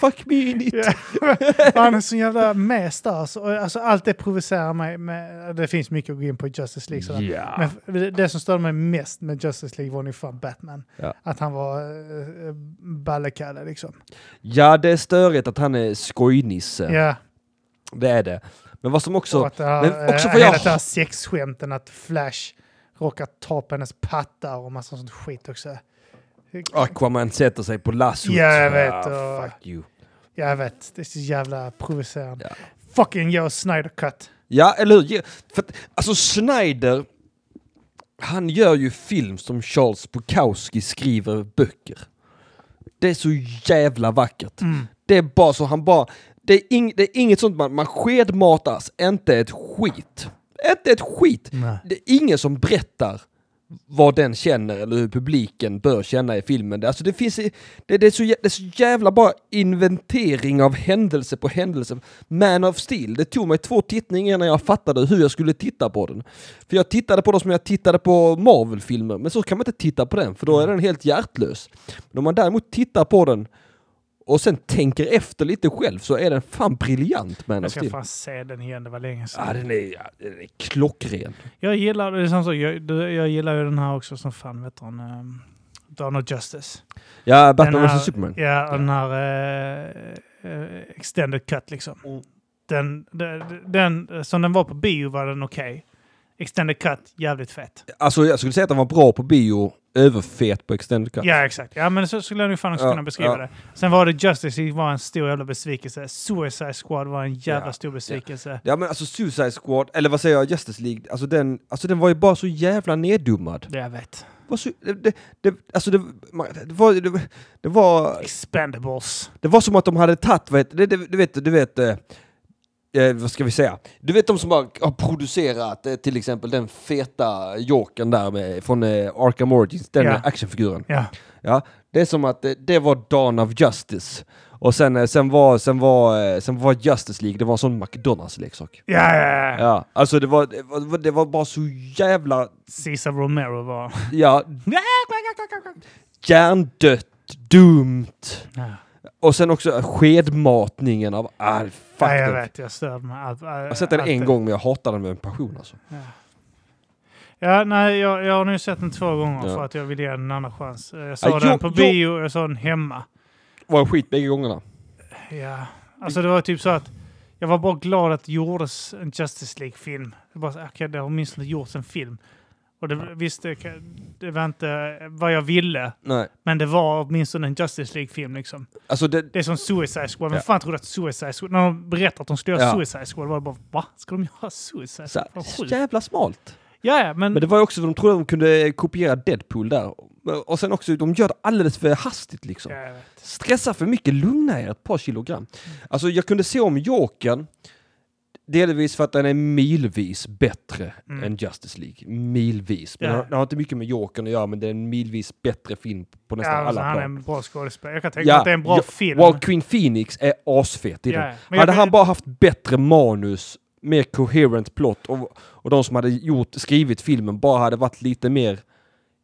Fuck me in it. Han är så jävla mäst där. Alltså, Och, alltså, allt det provocerar mig. Med, det finns mycket att gå in på i Justice League. Sådär. Ja. liksom. Men f- det- det som störde mig mest med Justice League var nog fan Batman. Ja. Att han var uh, ballekalle liksom. ja, det är störigt att han är skojnisse. Ja, Det är det. Men vad som också... och att det här, men också eh, får jag- hela det här sexskämten att Flash råkar ta på hennes patta och massa sånt skit också. Aquaman sätter sig på lassot. Ja, jag vet, Ah, och- fuck you. Jag vet, det är så jävla provocerande. Ja. Fucking Joe Snyder Cut. Ja, eller hur? Ja, För att, alltså Snyder, han gör ju film som Charles Bukowski skriver böcker. Det är så jävla vackert. Det är bara så, han bara... Det är, ing, det är inget sånt, man, man skedmatas, inte ett skit. Inte ett skit. Nej. Det är ingen som berättar vad den känner eller hur publiken bör känna i filmen. Det- Alltså det finns, i- det, det, är så, jä- det är så jävla bara inventering av händelse på händelse. Man of Steel, det tog mig två tittningar innan jag fattade hur jag skulle titta på den. För jag tittade på den som jag tittade på Marvel-filmer, men så kan man inte titta på den för då är den helt hjärtlös. Men om man däremot tittar på den och sen tänker efter lite själv så är den fan briljant Man Jag of ska Steel. fan se den igen, det var länge sedan. Ja, den är, ja, den är klockren. Jag gillar, det är som så, jag, du- jag gillar ju den här också som fan, vet du hon, ehm, Dawn of Justice. Ja, Batman Den här- vs Superman. Ja, och den här eh, eh, extended cut liksom. Mm. Den, den, den, som den var på bio var den okej. Extended cut, jävligt fett. Alltså jag skulle säga att den var bra på bio, överfet på extended cut. Ja, exakt. Ja, men så skulle jag nog fan också Ja, kunna beskriva ja. det. Sen var det Justice League var en stor jävla besvikelse. Suicide Squad var en jävla Ja, stor besvikelse. Ja men alltså Suicide Squad, eller vad säger jag, Justice League, alltså den, alltså den var ju bara så jävla neddummad. Det jag vet. Var så, det, det, det, alltså det, man- det, var, det, det, var, Expendables. det var som att de hade tagit, vad heter det, det, du vet, du vet, eh, eh, vad ska vi säga? Du vet de som har, har producerat eh, till exempel den feta Jokern där med, från eh, Arkham Origins, den Ja. actionfiguren. Ja. Ja, det är som att eh, det var Dawn of Justice. Och sen, eh, sen, var, sen, var, eh, sen var Justice League, det var en sån McDonalds-leksak. Ja, ja, ja. Ja, alltså det var, det var, det var bara så jävla, Cesar Romero var... ja, hjärndött, dumt. Ja. Och sen också skedmatningen av ah, all Ja, jag fucking... vet, jag störde mig. Allt, Jag har sett den en gång men jag hatar den med en passion alltså. Ja, nej, jag, jag har nu sett den två gånger Ja. för att jag vill ge den en annan chans. Eh, Jag såg Ja, den jag- på jag- bio och jag såg den hemma. Var en skit bägge gångerna. Ja. Alltså det var typ så att jag var bara glad att det gjordes en Justice League-film. Jag bara, så, okej, det har åtminstone gjorts en film. Och det, visst, det, kan- det var inte eh, vad jag ville, Nej. men det var åtminstone en Justice League-film liksom. Alltså det... Det är som Suicide Squad. Vem Ja. fan trodde att Suicide Squad... När de berättade att de skulle göra Ja. Suicide Squad var det bara, va? Ska de göra Suicide Så, Squad? Vad så sjukt. jävla smalt. Ja, ja, men... Men det var ju också för de trodde de kunde kopiera Deadpool där. Och sen också, de gör det alldeles för hastigt liksom. Ja, jag vet. Stressa för mycket, lugna er ett par kilogram. Alltså jag kunde se om Jokern. Delvis för att den är milvis bättre Mm. än Justice League. Milvis. Men Ja. den har- den har inte mycket med Jokern att göra, men det är en milvis bättre film på nästan ja, alla alltså, han är plan. en bra skådespelare. Jag kan tänka Ja, mig att det är en bra ja, film. Joaquin Phoenix är asfet i Ja, den. ja. Men jag hade kan- han bara haft bättre manus, mer coherent plot och, och de som hade gjort, skrivit filmen bara hade varit lite mer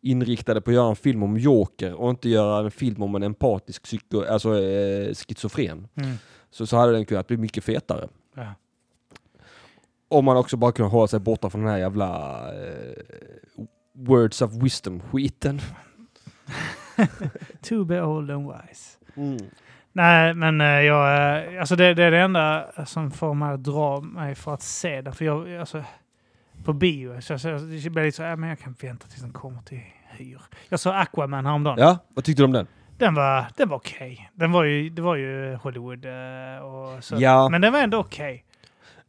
inriktade på att göra en film om Joker och inte göra en film om en empatisk psyko, alltså, eh, schizofren. Mm. Så, så hade den kunnat bli mycket fetare. Ja. Om man också bara kunde hålla sig borta från den här jävla eh, words of wisdom-skiten. To be old and wise. Nej, men eh, jag, eh, alltså det, det är det enda som får mig att dra mig för att se den. För jag, alltså, på bio, så jag, så jag det blir lite så här, men jag kan vänta tills den kommer till hyr. Jag såg Aquaman häromdagen. Ja, vad tyckte du om den? Den var, den var okej. Den var ju, det var ju Hollywood eh, och så. Ja. Men den var ändå okej.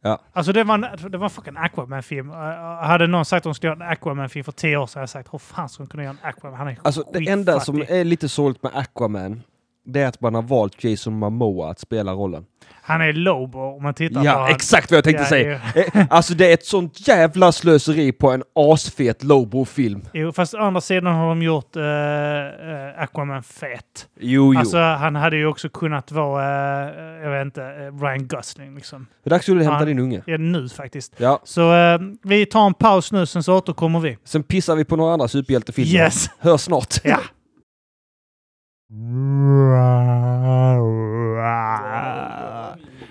Ja. Alltså det var, en, det var en fucking Aquaman-film. Eh, Hade någon sagt att de skulle göra en Aquaman-film för tio år sedan hade jag sagt hur fan ska de kunna göra en Aquaman? Han är Alltså det enda som skitfattig. är lite sorgligt med Aquaman, det är att man har valt Jason Momoa att spela rollen. Han är Lobo om man tittar på Ja, han. exakt vad jag tänkte Ja, säga. Eh, Alltså det är ett sånt jävla slöseri på en asfet Lobo-film. Jo, fast å andra sidan har de gjort eh, eh, Aquaman fet. Jo, jo. Alltså, han hade ju också kunnat vara, eh, jag vet inte, eh, Ryan Gosling liksom. det är dags att du hämtar han- din unge. Ja, nu faktiskt. Ja. Så eh, vi tar en paus nu, sen så återkommer vi. Sen pissar vi på några andra superhjältefilmer. Yes! Hör snart. Ja.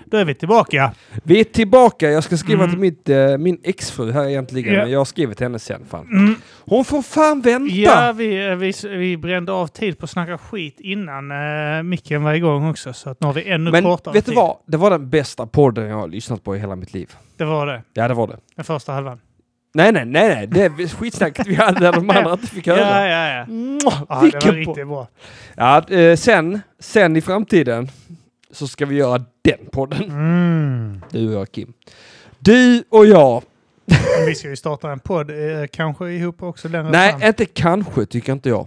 Då är vi tillbaka. Vi är tillbaka. Jag ska skriva Mm. till mitt, eh, min exfru här egentligen, Ja. men jag har skrivit till henne sen. Fan. Mm. Hon får fan vänta! Ja, vi, eh, vi, vi brände av tid på att snacka skit innan eh, micken var igång också, så att nu har vi ännu men kortare vet du tid. vad? Det var den bästa podden jag har lyssnat på i hela mitt liv. Det var det. Ja, det var det. Den första halvan. Nej, nej, nej, nej. Det är skitsnacket vi hade där de andra inte fick Ja, höra. ja, ja. Mwah! Ja, det var Vilken podd! riktigt bra. Ja, eh, sen, sen i framtiden så ska vi göra den podden. Mm. Du och jag, Kim. Du och jag. Men Vi ska ju starta en podd, eh, kanske ihop också längre Nej, fram. inte kanske, tycker inte jag.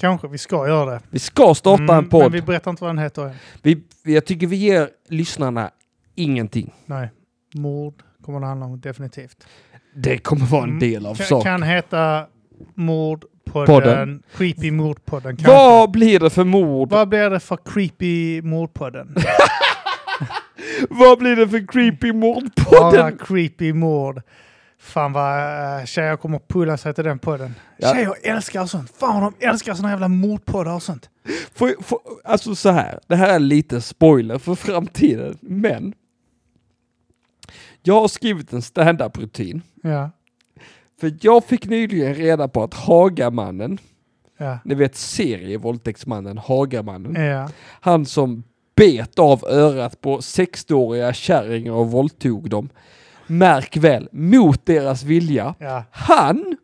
Kanske vi ska göra det. Vi ska starta Mm, en podd. Men vi berättar inte vad den heter än. Vi, vi- jag tycker vi ger lyssnarna ingenting. Nej. Mord kommer det handla om definitivt. Det kommer vara en Mm. del av Kan, saken. kan heta Mordpodden. Podden. Creepy Mordpodden kanske. Vad blir det för mord? Vad blir det för Creepy Mordpodden? Vad blir det för creepy Bara mordpodden? creepy mord. Fan vad eh, tjejer kommer pulla sig till den podden. Ja. Tjejer älskar sånt. Fan de älskar såna jävla mordpoddar och sånt. Får, får, alltså så här, det här är lite spoiler för framtiden, men jag har skrivit en standup-rutin. Ja. För jag fick nyligen reda på att Hagamannen, Ja. ni vet serievåldtäktsmannen Hagamannen, Ja. han som bet av örat på 60-åriga kärringar och våldtog dem. Märk väl, mot deras vilja. Ja. Han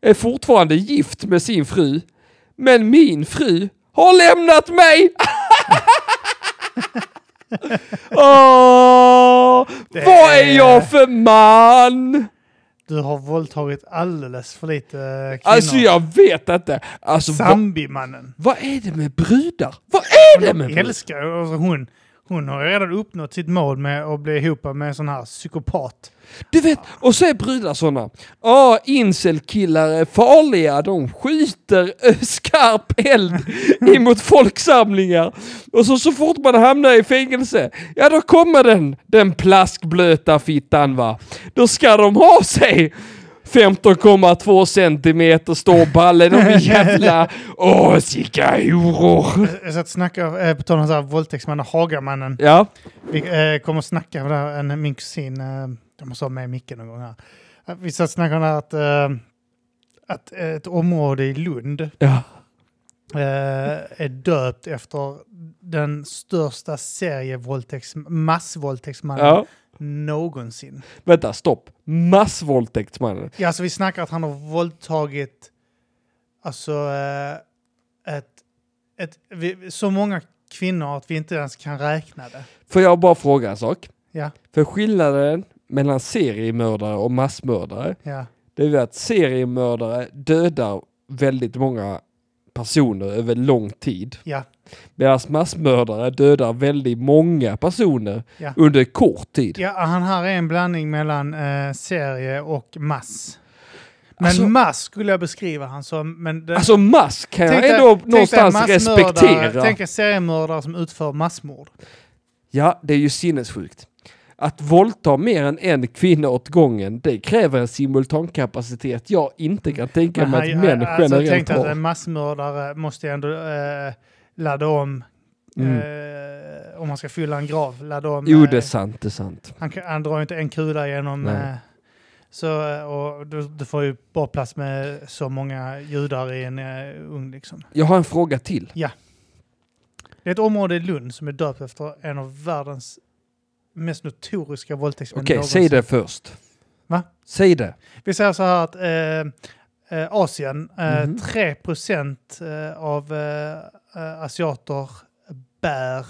är fortfarande gift med sin fru, men min fru har lämnat mig! Åh, Det vad är är- jag för man? Du har våldtagit alldeles för lite eh, kvinnor. Alltså jag vet inte. Alltså vad, Zambimannen. vad är det med brudar? Vad är det med Jag brudar? älskar ju- alltså hon. Hon har ju redan uppnått sitt mål med att bli ihop med en sån här psykopat. Du vet, och så är brudar sådana. Ja, incelkillar är farliga, de skjuter ö, skarp eld emot folksamlingar. Och så, så fort man hamnar i fängelse, ja då kommer den, den plaskblöta fittan va. Då ska de ha sig. 15,2 centimeter står ballen och vi jävla... Åh, sicka horor! Eh, Så att snacka, eh, på tal om så här våldtäktsmannen, Hagamannen. Ja, Vi eh, kommer att snacka om det här, en, min kusin, eh, jag måste ha med micken någon gång här. Eh, Vi satt och snackade om det här att, eh, att ett område i Lund eh, ja. är döpt efter den största serievåldtäkts, massvåldtäktsmannen ja. någonsin. Vänta, stopp. Massvåldtäktsmannen. Ja, alltså vi snackar att han har våldtagit alltså eh, ett, ett, vi, så många kvinnor att vi inte ens kan räkna det. Får jag bara fråga en sak? Ja, För skillnaden mellan seriemördare och massmördare, ja. det är ju att seriemördare dödar väldigt många personer över lång tid. Ja. Medan massmördare dödar väldigt många personer Ja. under kort tid. ja, han här är en blandning mellan eh, serie och mass. Men Alltså- mass skulle jag beskriva han som. Men det, Alltså mask kan jag dig- ändå dig någonstans massmördare- respektera. Tänk dig seriemördare som utför massmord. Ja, det är ju sinnessjukt. Att våldta mer än en kvinna åt gången, det kräver en simultankapacitet jag inte kan tänka Men mig att han- män alltså, jag generellt tänkte att en har. massmördare måste ju ändå eh, ladda om. Mm. Eh, om man ska fylla en grav. Ladda om. Jo, eh, det är sant, det är sant. han, kan- han drar ju inte en kula genom... Nej. Eh, så, eh, och du, du får ju bara plats med så många judar i en eh, ugn. Liksom. Jag har en fråga till. Det är ett område i Lund som är döpt efter en av världens mest notoriska våldtäktsmän Okej, någonsin. säg det först. Va? Säg det. Vi säger så här att eh, eh, Asien, eh, Mhm. 3% eh, av eh, eh, asiater bär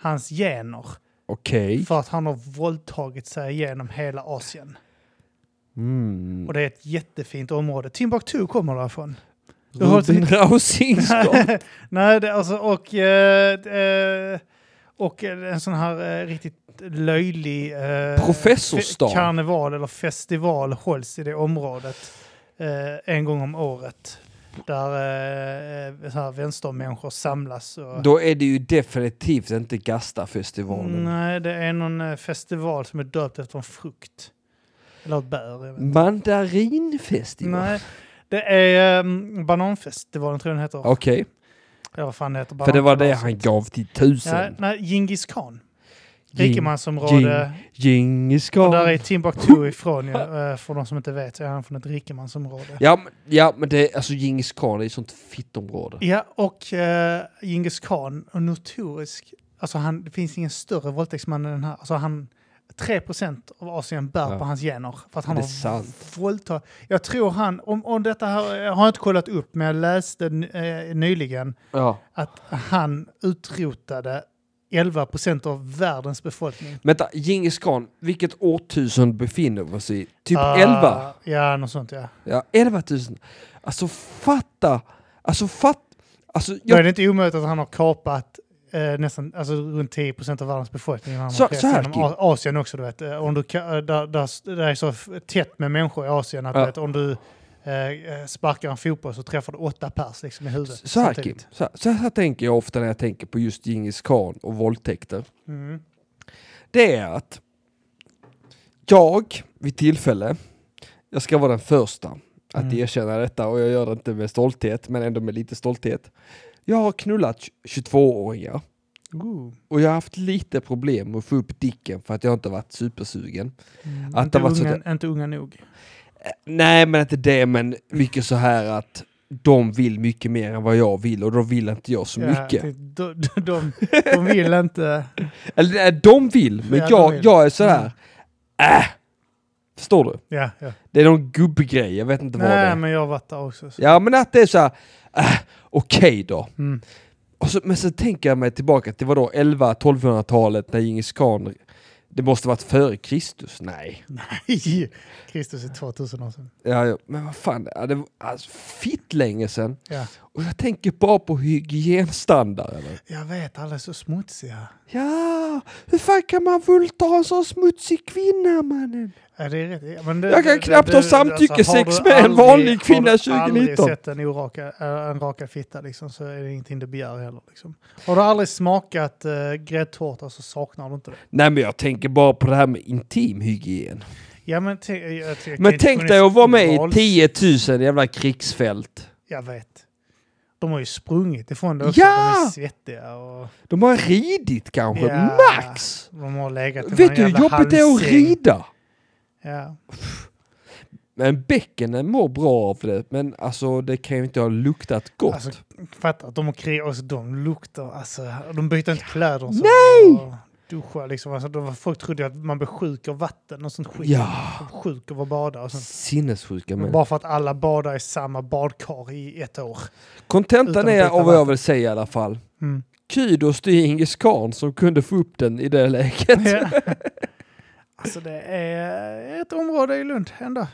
hans gener Okej. för att han har våldtagit sig genom hela Asien. Mm. Och det är ett jättefint område. Timbuktu kommer därifrån. Du har Robin Rausings gata. Nej, det, alltså, och, eh, eh, och en sån här eh, riktigt löjlig eh, Professorsstad. fe- karneval eller festival hålls i det området eh, en gång om året. Där eh, så här vänstermänniskor samlas. Och, Då är det ju definitivt inte Gastafestivalen. Nej, det är någon eh, festival som är döpt efter en frukt. Eller ett bär. jag vet inte. Mandarinfestival. Nej, det är um, bananfestivalen tror jag den heter. Okej, Eller vad fan det heter. för det var det banankalaset. han gav till Ja, tusen. nej, Djingis khan. Djing- Rikemansområde. Djingis Och där khan. är Timbuktu ifrån ju. eh, För de som inte vet så är han från ett rikemansområde. Ja, Ja, men- ja, men det är alltså Djingis khan, det är ett sånt fittområde. och eh, Djingis khan, och notorisk. Alltså han, det finns ingen större våldtäktsman än den här. Alltså han, 3% av Asien bär Ja. på hans gener. För att han Det är har sant. våldtagit. Jag tror han, om, om detta här, jag har inte kollat upp, men jag läste eh, nyligen Ja. att han utrotade 11% av världens befolkning. Vänta, Djingis khan, vilket årtusende befinner vi oss i? Typ Ah, 11? Ja, något sånt ja. Ja, 11 000. Alltså fatta! Alltså fatt... Alltså, Då är jag, det inte omöjligt att han har kapat eh, nästan alltså, runt 10 procent av världens befolkning. Han har Så- rest så här, typ. genom Kim. A- Asien också, du vet. Eh, Om du, ka- eh, där, där, där är så f- tätt med människor i Asien att Ja. du vet, om du eh, eh, sparkar en fotboll så träffar du åtta pers liksom, i huvudet. så, här, Kim, samtidigt. så, här, så här tänker jag ofta när jag tänker på just Djingis khan och våldtäkter. Mm. Det är att jag, vid tillfälle, jag ska vara den första att Mm. erkänna detta och jag gör det inte med stolthet, men ändå med lite stolthet. Jag har knullat 22-åringar Ooh. och jag har haft lite problem med att få upp dicken för att jag inte varit supersugen. Mm. Att inte, det var så unga, inte unga nog. Nej, men inte det, men mycket så här att de vill mycket mer än vad jag vill och då vill inte jag så Ja, typ. mycket. det- de, de, de, de vill inte... Eller nej, de vill, men Ja, de jag, vill. Mm. jag är så här. Äh! Förstår du? Ja, ja. Det är någon gubbgrej, jag vet inte vad det Nej, är. men jag har varit där också. Så. Ja, men att det är så här. Äh, okej då. Mm. Och så, men så tänker jag mig tillbaka till vadå, 11-1200-talet när Djingis khan, det måste varit före Kristus? Nej. Nej, Kristus är 2000 år sedan. Ja, ja, men vad fan, ja, det var alltså, fitt länge sedan. Ja. Och jag tänker bara på hygienstandarden. Jag vet, alla är så smutsiga. Ja, hur fan kan man vulta en sån smutsig kvinna mannen? Ja, det är rätt. Ja, men det, Jag kan det- knappt det- ha det- samtyckesex har du med en aldrig- vanlig kvinna Har du aldrig 2019? sett en, oraka, äh, en rakad fitta liksom, så är det ingenting du begär heller. Liksom. Har du aldrig smakat uh, gräddtårta så saknar du inte det. Nej men jag tänker bara på det här med intimhygien. Ja, men tänk, jag, jag, jag, Men jag- tänk dig att vara med i 10 000 jävla krigsfält. Jag vet. De har ju sprungit ifrån det också. Ja! De är svettiga och De har ridit kanske, Ja. max! de har legat i någon Vet du hur jävla jobbigt det är att halvsäng. rida? Ja. Men bäckenen mår bra av det, men alltså det kan ju inte ha luktat gott. Alltså, fatta att de har krigat och så de luktar, alltså, de byter inte kläder. och Så, Nej! Och duschar liksom. Alltså, de, folk trodde ju att man blev sjuk av vatten och sånt skit. ja, De var Sjuk av att bada och sånt. sinnessjuka Men män. bara för att alla badar i samma badkar i ett år. Kontentan Utan är att byta av vad jag vill säga i alla fall. Mm. Kudos till Djingis khan som kunde få upp den i det läget. Ja. alltså det är ett område i Lund ändå.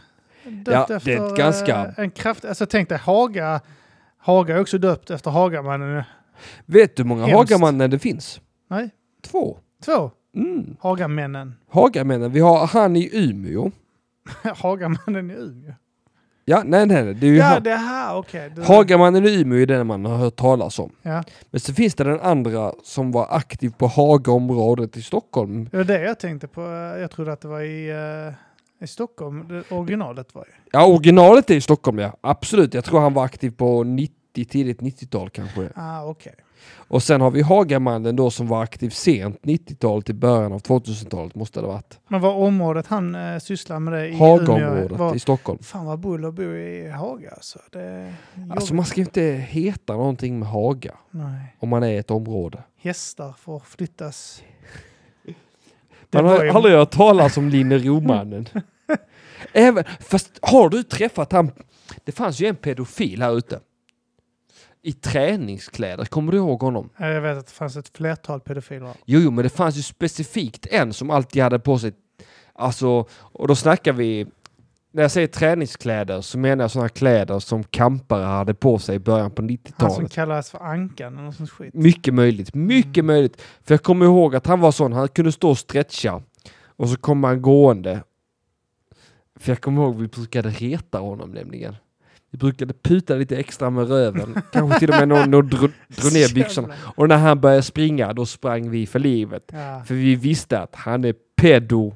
Döpt Ja, det är ett ganska- eh, En kraft, alltså tänk dig Haga, Haga är också döpt efter Hagamannen. Vet du hur många Hemskt. Hagamannen det finns? Nej, Två. två. Mm. Hagamännen. Hagamännen. Vi har han i Umeå. Hagamannen i Umeå. Ja, nej, nej, nej. Det är ju Ja, han. det här, okej. Du- Hagamannen i Umeå är den man har hört talas om. Ja, Men så finns det den andra som var aktiv på Hagaområdet i Stockholm. det var det jag tänkte på. Jag trodde att det var i, eh, i Stockholm, det originalet var ju. Ja, originalet är i Stockholm, ja. Absolut. Jag tror han var aktiv på 90, tidigt 90-tal kanske. Ah, okej. Och sen har vi Hagamannen då som var aktiv sent 90-tal till början av 2000-talet måste det ha varit. Men var området han eh, sysslar med det i Umeå? Hagaområdet Var, i Stockholm. Fan vad bull att bo i Haga alltså. Det är Alltså jobbigt. man ska ju inte heta någonting med Haga Nej. om man är i ett område. Hästar får flyttas. Det Man var har ju- aldrig hört talas om Linneromannen. Även, fast har du träffat han? Det fanns ju en pedofil här ute. I träningskläder, kommer du ihåg honom? Ja, Jag vet att det fanns ett flertal pedofiler. Jo, jo, men det fanns ju specifikt en som alltid hade på sig, alltså, och då snackar vi, när jag säger träningskläder så menar jag sådana kläder som kampare hade på sig i början på Han som 90-talet. kallades för Ankan eller något sånt skit. Mycket möjligt, mycket Mm. möjligt. För jag kommer ihåg att han var sån, han kunde stå och stretcha och så kom han gående. För jag kommer ihåg vi brukade reta honom nämligen. Vi brukade puta lite extra med röven, kanske till och med någon, någon drog dro ner byxorna. Jävlar. Och när han började springa, då sprang vi för livet. Ja, För vi visste att han är pedo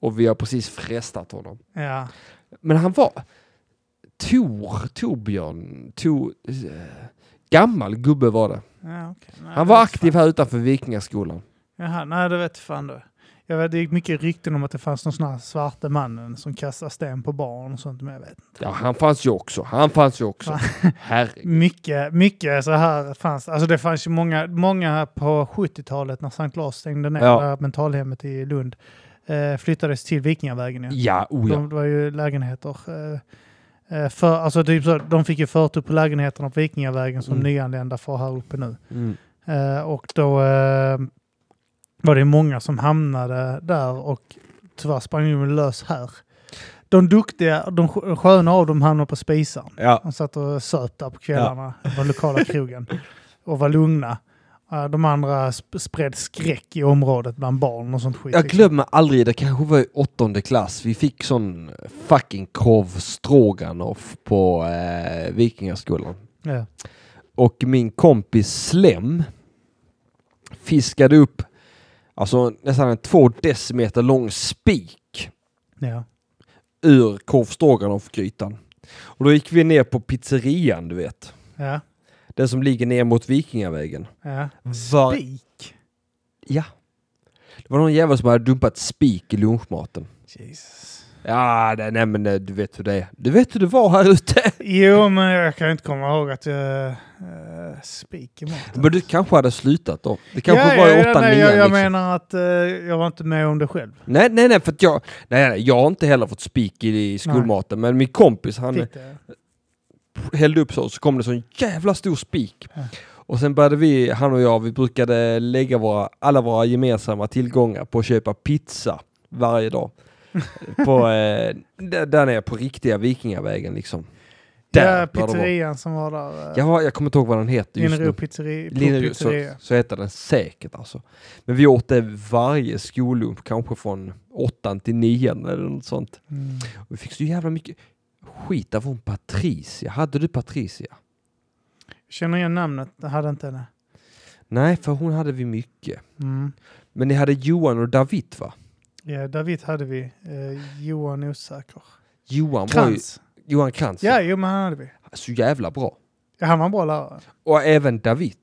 och vi har precis frestat honom. ja. Men han var Tor, Torbjörn, Tor, eh, gammal gubbe var det. ja okej. Nej, Han det var vet aktiv fan. här utanför Vikingaskolan. Jaha, nej det vet fan du. Jag vet, det gick mycket rykten om att det fanns någon sån här svarte mannen som kastar sten på barn och sånt. Men jag vet. Ja, han fanns ju också. Han fanns ju också. Va? Herregud. Mycket, mycket så här fanns. Alltså det fanns ju många, många på 70-talet när Sankt Lars stängde ner Ja. det här mentalhemmet i Lund. Eh, flyttades till Vikingavägen. Ja. Ja, oh ja. De, det var ju lägenheter. eh, eh, För, alltså typ så, de fick ju förtur på lägenheterna på Vikingavägen som Mm. nyanlända får här uppe nu. Mm. Eh, Och då eh, var det många som hamnade där och tyvärr sprang ju lös här. De duktiga, de skö- sköna av dem hamnade på spisaren. Ja. De satt och söp där på kvällarna på den lokala krogen och var lugna. Eh, De andra sp- spred skräck i området bland barn och sånt skit. Jag liksom. glömmer aldrig, det kanske var i åttonde klass, vi fick sån fucking korv stroganoff på eh, Vikingaskolan. Ja. och min kompis Slem fiskade upp alltså nästan en två decimeter lång spik Ja. ur korvstroganoff-grytan. Och då gick vi ner på pizzerian, du vet. Ja. Den som ligger ner mot Vikingavägen. Ja. Var- Spik. Ja. Det var någon jävel som hade dumpat spik i lunchmaten. Jesus. Ja, nej, nej men eh, du vet hur det är. Du vet hur det var här ute. Jo, men jag kan inte komma ihåg att jag eh, spik i maten. Men du kanske hade slutat då. Det kanske Ja, var ja, i ja, åttan, nej, nian Jag, jag liksom. menar att eh, jag var inte med om det själv. Nej, nej, nej, för att jag, nej, nej, jag har inte heller fått spik i, i skolmaten, men min kompis han Fick det. hällde upp så, så kom det så en jävla stor spik. Ja. Och sen började vi, han och jag, vi brukade lägga våra, alla våra gemensamma tillgångar på att köpa pizza varje dag. på, eh, där, där nere på riktiga Vikingavägen liksom. Där, ja, där de var. pizzerian som var där. Jag, eh, har, jag kommer inte ihåg vad den heter just Linnerud nu. pizzeri, på Linnerud, så, pizzeria. så heter den säkert alltså. Men vi åt det varje skollunch, kanske från åttan till nian eller något sånt. Mm. Och Vi fick så jävla mycket skit av hon Patricia. Hade du Patricia? Känner igen namnet? Jag hade inte det. Nej, för hon hade vi mycket. Mm. Men ni hade Johan och David va? Ja, David hade vi. Eh, Johan Osäker. Johan var ju, Krantz. Johan Krantz. Ja, jo, men han hade vi. Så jävla bra. Ja, han var en bra lärare. Och även David.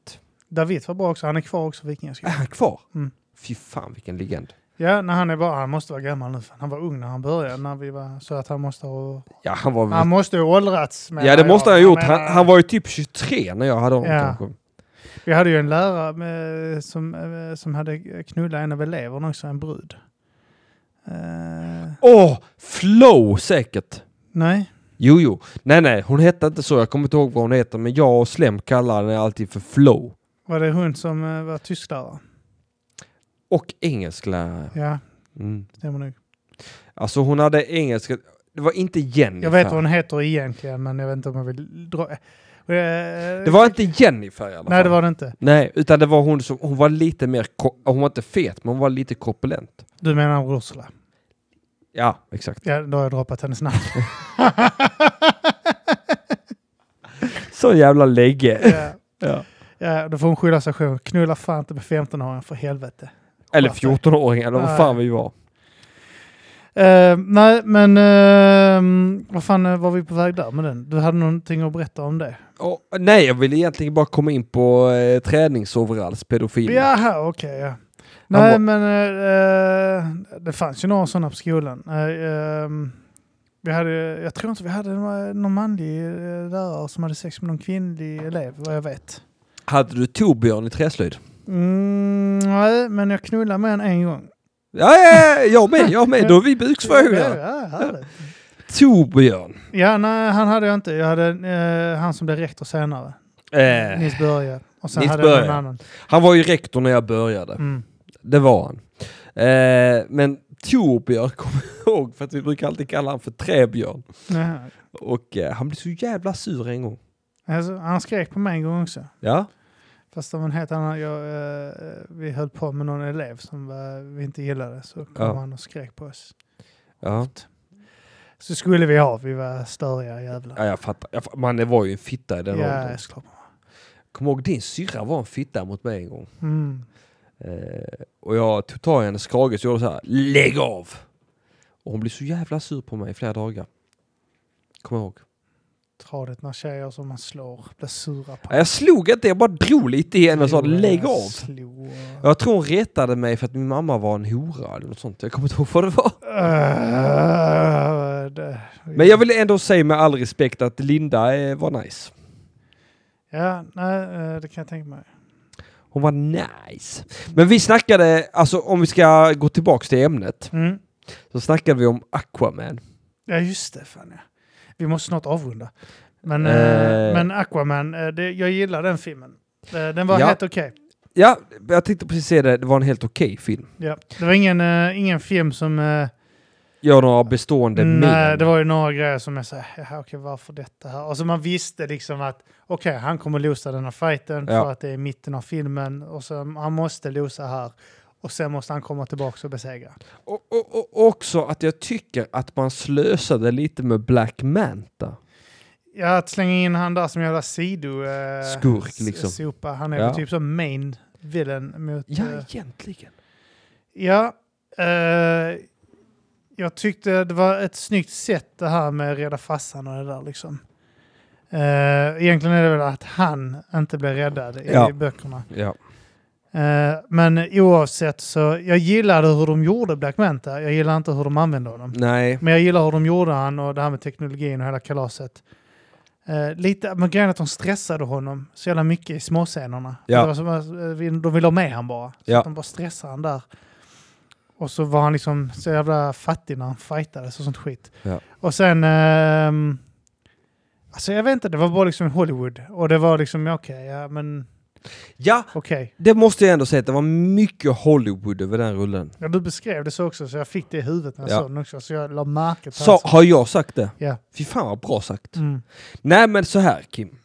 David var bra också. Han är kvar också i Är Vikingaskolan. han kvar? Mm. Fy fan vilken legend. Ja, när han är bara, han måste vara gammal nu. fan. Han var ung när han började, när vi var, så att han måste ha... Ja, han var Han måste ha åldrats. menar Mm. Ja, det jag. måste han ha gjort. Jag Han, menar- han var ju typ 23 när jag hade honom Ja. kanske. Vi hade ju en lärare med, som, eh, som hade knullat en av eleverna också, en brud. Eh, Åh! Flow säkert! nej, Jo, jo. Nej, nej. Hon hette inte så. Jag kommer inte ihåg vad hon heter. Men jag och Slem kallar henne alltid för Flow. var det hon som eh, var tysklärare? Och engelsklärare. Ja, Mm. stämmer nog. Alltså hon hade engelska, det var inte Jennifer. Jag vet vad hon heter egentligen, men jag vet inte om jag vill dra... Det Det var inte Jennifer i alla fall. Nej, det var det inte. Nej, utan det var hon som, hon var lite mer, ko- hon var inte fet, men hon var lite korpulent. Du menar Ursula? Ja, exakt. Ja, då har jag droppat hennes namn. Så jävla lägge. ja. Ja. Ja, då får hon skylla sig själv. Knulla fan inte med 15-åringen för helvete. Eller 14-åring, eller vad fan vi var. Eh, nej, men ehm, vad fan eh, var vi på väg där med den? Du hade någonting att berätta om det? Och, nej, jag ville egentligen bara komma in på eh, träningsoverallspedofiler. Jaha, okej. ja. Nej, men eh, eh, det fanns ju några sådana på skolan. Eh, ehm, vi hade, jag tror inte vi hade någon någon manlig eh, lärare som hade sex med någon kvinnlig elev, vad jag vet. Hade du Torbjörn i träslöjd? Mm, nej, men jag knullade med en en gång. Ja, ja, ja, jag med, jag med. Då är vi buksvåglar. Ja, härligt. Torbjörn. Ja, nej, han hade jag inte. Jag hade eh, han som blev rektor senare. Eh, Nils Börje. Och sen Nils hade jag Börje. någon annan. han var ju rektor när jag började. Mm. Det var han. Eh, men Torbjörn kommer jag ihåg, för att vi brukar alltid kalla honom för Träbjörn. Jaha. Och eh, han blev så jävla sur en gång. Alltså, han skrek på mig en gång också. Ja. Fast av en helt annan, jag, eh, vi höll på med någon elev som var, vi inte gillade så kom Ja. han och skrek på oss. Ja, Så skulle vi ha, vi var störiga jävlar. ja jag fattar. Jag fattar. Man det var ju en fitta i den Ja, åldern. såklart. Kom ihåg din syrra var en fitta mot mig en gång. Mm. Eh, och jag tog tag i hennes krage så gjorde så här. Lägg av! Och hon blev så jävla sur på mig i flera dagar. Kom ihåg. Tradigt när tjejer som man slår blir sura på. Ja, Jag slog inte, jag bara drog lite i henne och sa Jo, jag Äh, lägg av. slog. Jag tror hon retade mig för att min mamma var en hora eller något sånt. Jag kommer inte ihåg vad det var. Eh, det- Men jag vill ändå säga med all respekt att Linda eh, var nice. Ja, nej, eh, det kan jag tänka mig. Hon var nice. Men vi snackade, alltså om vi ska gå tillbaks till ämnet. Mm. Så snackade vi om Aquaman. Ja, just det. Fan, ja. Vi måste snart avrunda. Men, Eh. eh, men Aquaman, eh, det, jag gillar den filmen. Eh, den var Ja. helt okej. Ja, jag tänkte precis säga det. Det var en helt okej film. Ja. Det var ingen, eh, ingen film som... eh, Gör några bestående nej, men. det var ju några grejer som jag sa, jaha okej varför detta här? Och så man visste liksom att okej, han kommer losa den här fighten för Ja. att det är mitten av filmen och så mm, han måste losa här. Och sen måste han komma tillbaka och besegra. Och, och, och också att jag tycker att man slösade lite med Black Manta. Ja, att slänga in han där som jävla sido... Eh, Skurk, s- liksom. Sopa. Han är Ja. väl typ som main villain mot... Ja, eh, egentligen. Ja, eh, jag tyckte det var ett snyggt sätt det här med rädda fassan och det där liksom. Eh, egentligen är det väl att han inte blev räddad i Ja. böckerna. Ja. Eh, men oavsett så, jag gillade hur de gjorde Black Manta. Jag gillar inte hur de använde honom. Nej. Men jag gillar hur de gjorde han och det här med teknologin och hela kalaset. Eh, lite, men grejen är att de stressade honom så jävla mycket i småscenerna. Ja. Det var som, att, eh, de ville ha med han bara. Så Ja. att de bara stressade han där. Och så var han liksom så jävla fattig när han fightades och sånt skit. Ja. Och sen... ehm, alltså jag vet inte, det var bara liksom Hollywood. Och det var liksom, ja, okej, ja men Ja, okej. det måste jag ändå säga att det var mycket Hollywood över den rullen. Ja, du beskrev det så också, så jag fick det i huvudet när jag Ja. såg den också. Så jag la märke till Så, har jag sagt det? Ja. Fy fan vad bra sagt. Mm. Nej men så här Kim.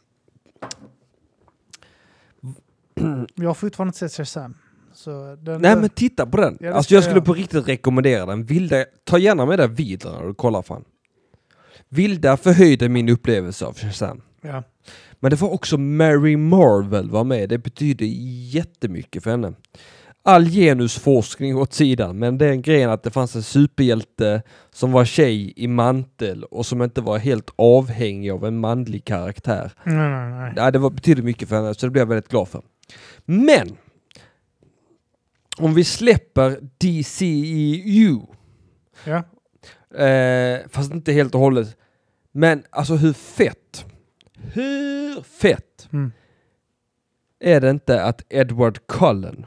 Jag har fortfarande inte sett Shazam. Så den, Nej den- men titta på den. Ja, det alltså ska jag jag skulle göra. på riktigt rekommendera den. Vilda, ta gärna med dig vidare när du kollar fan. Vilda förhöjde min upplevelse av Shazam. Ja. Men det var också Mary Marvel var med. Det betyder jättemycket för henne. All genusforskning åt sidan, men den grejen att det fanns en superhjälte som var tjej i mantel och som inte var helt avhängig av en manlig karaktär. Nej, nej, nej. Ja, det var, betyder mycket för henne, så det blev jag väldigt glad för. Men! Om vi släpper DCEU, Ja. eh, fast inte helt och hållet, men alltså hur fett, hur fett Mm. är det inte att Edward Cullen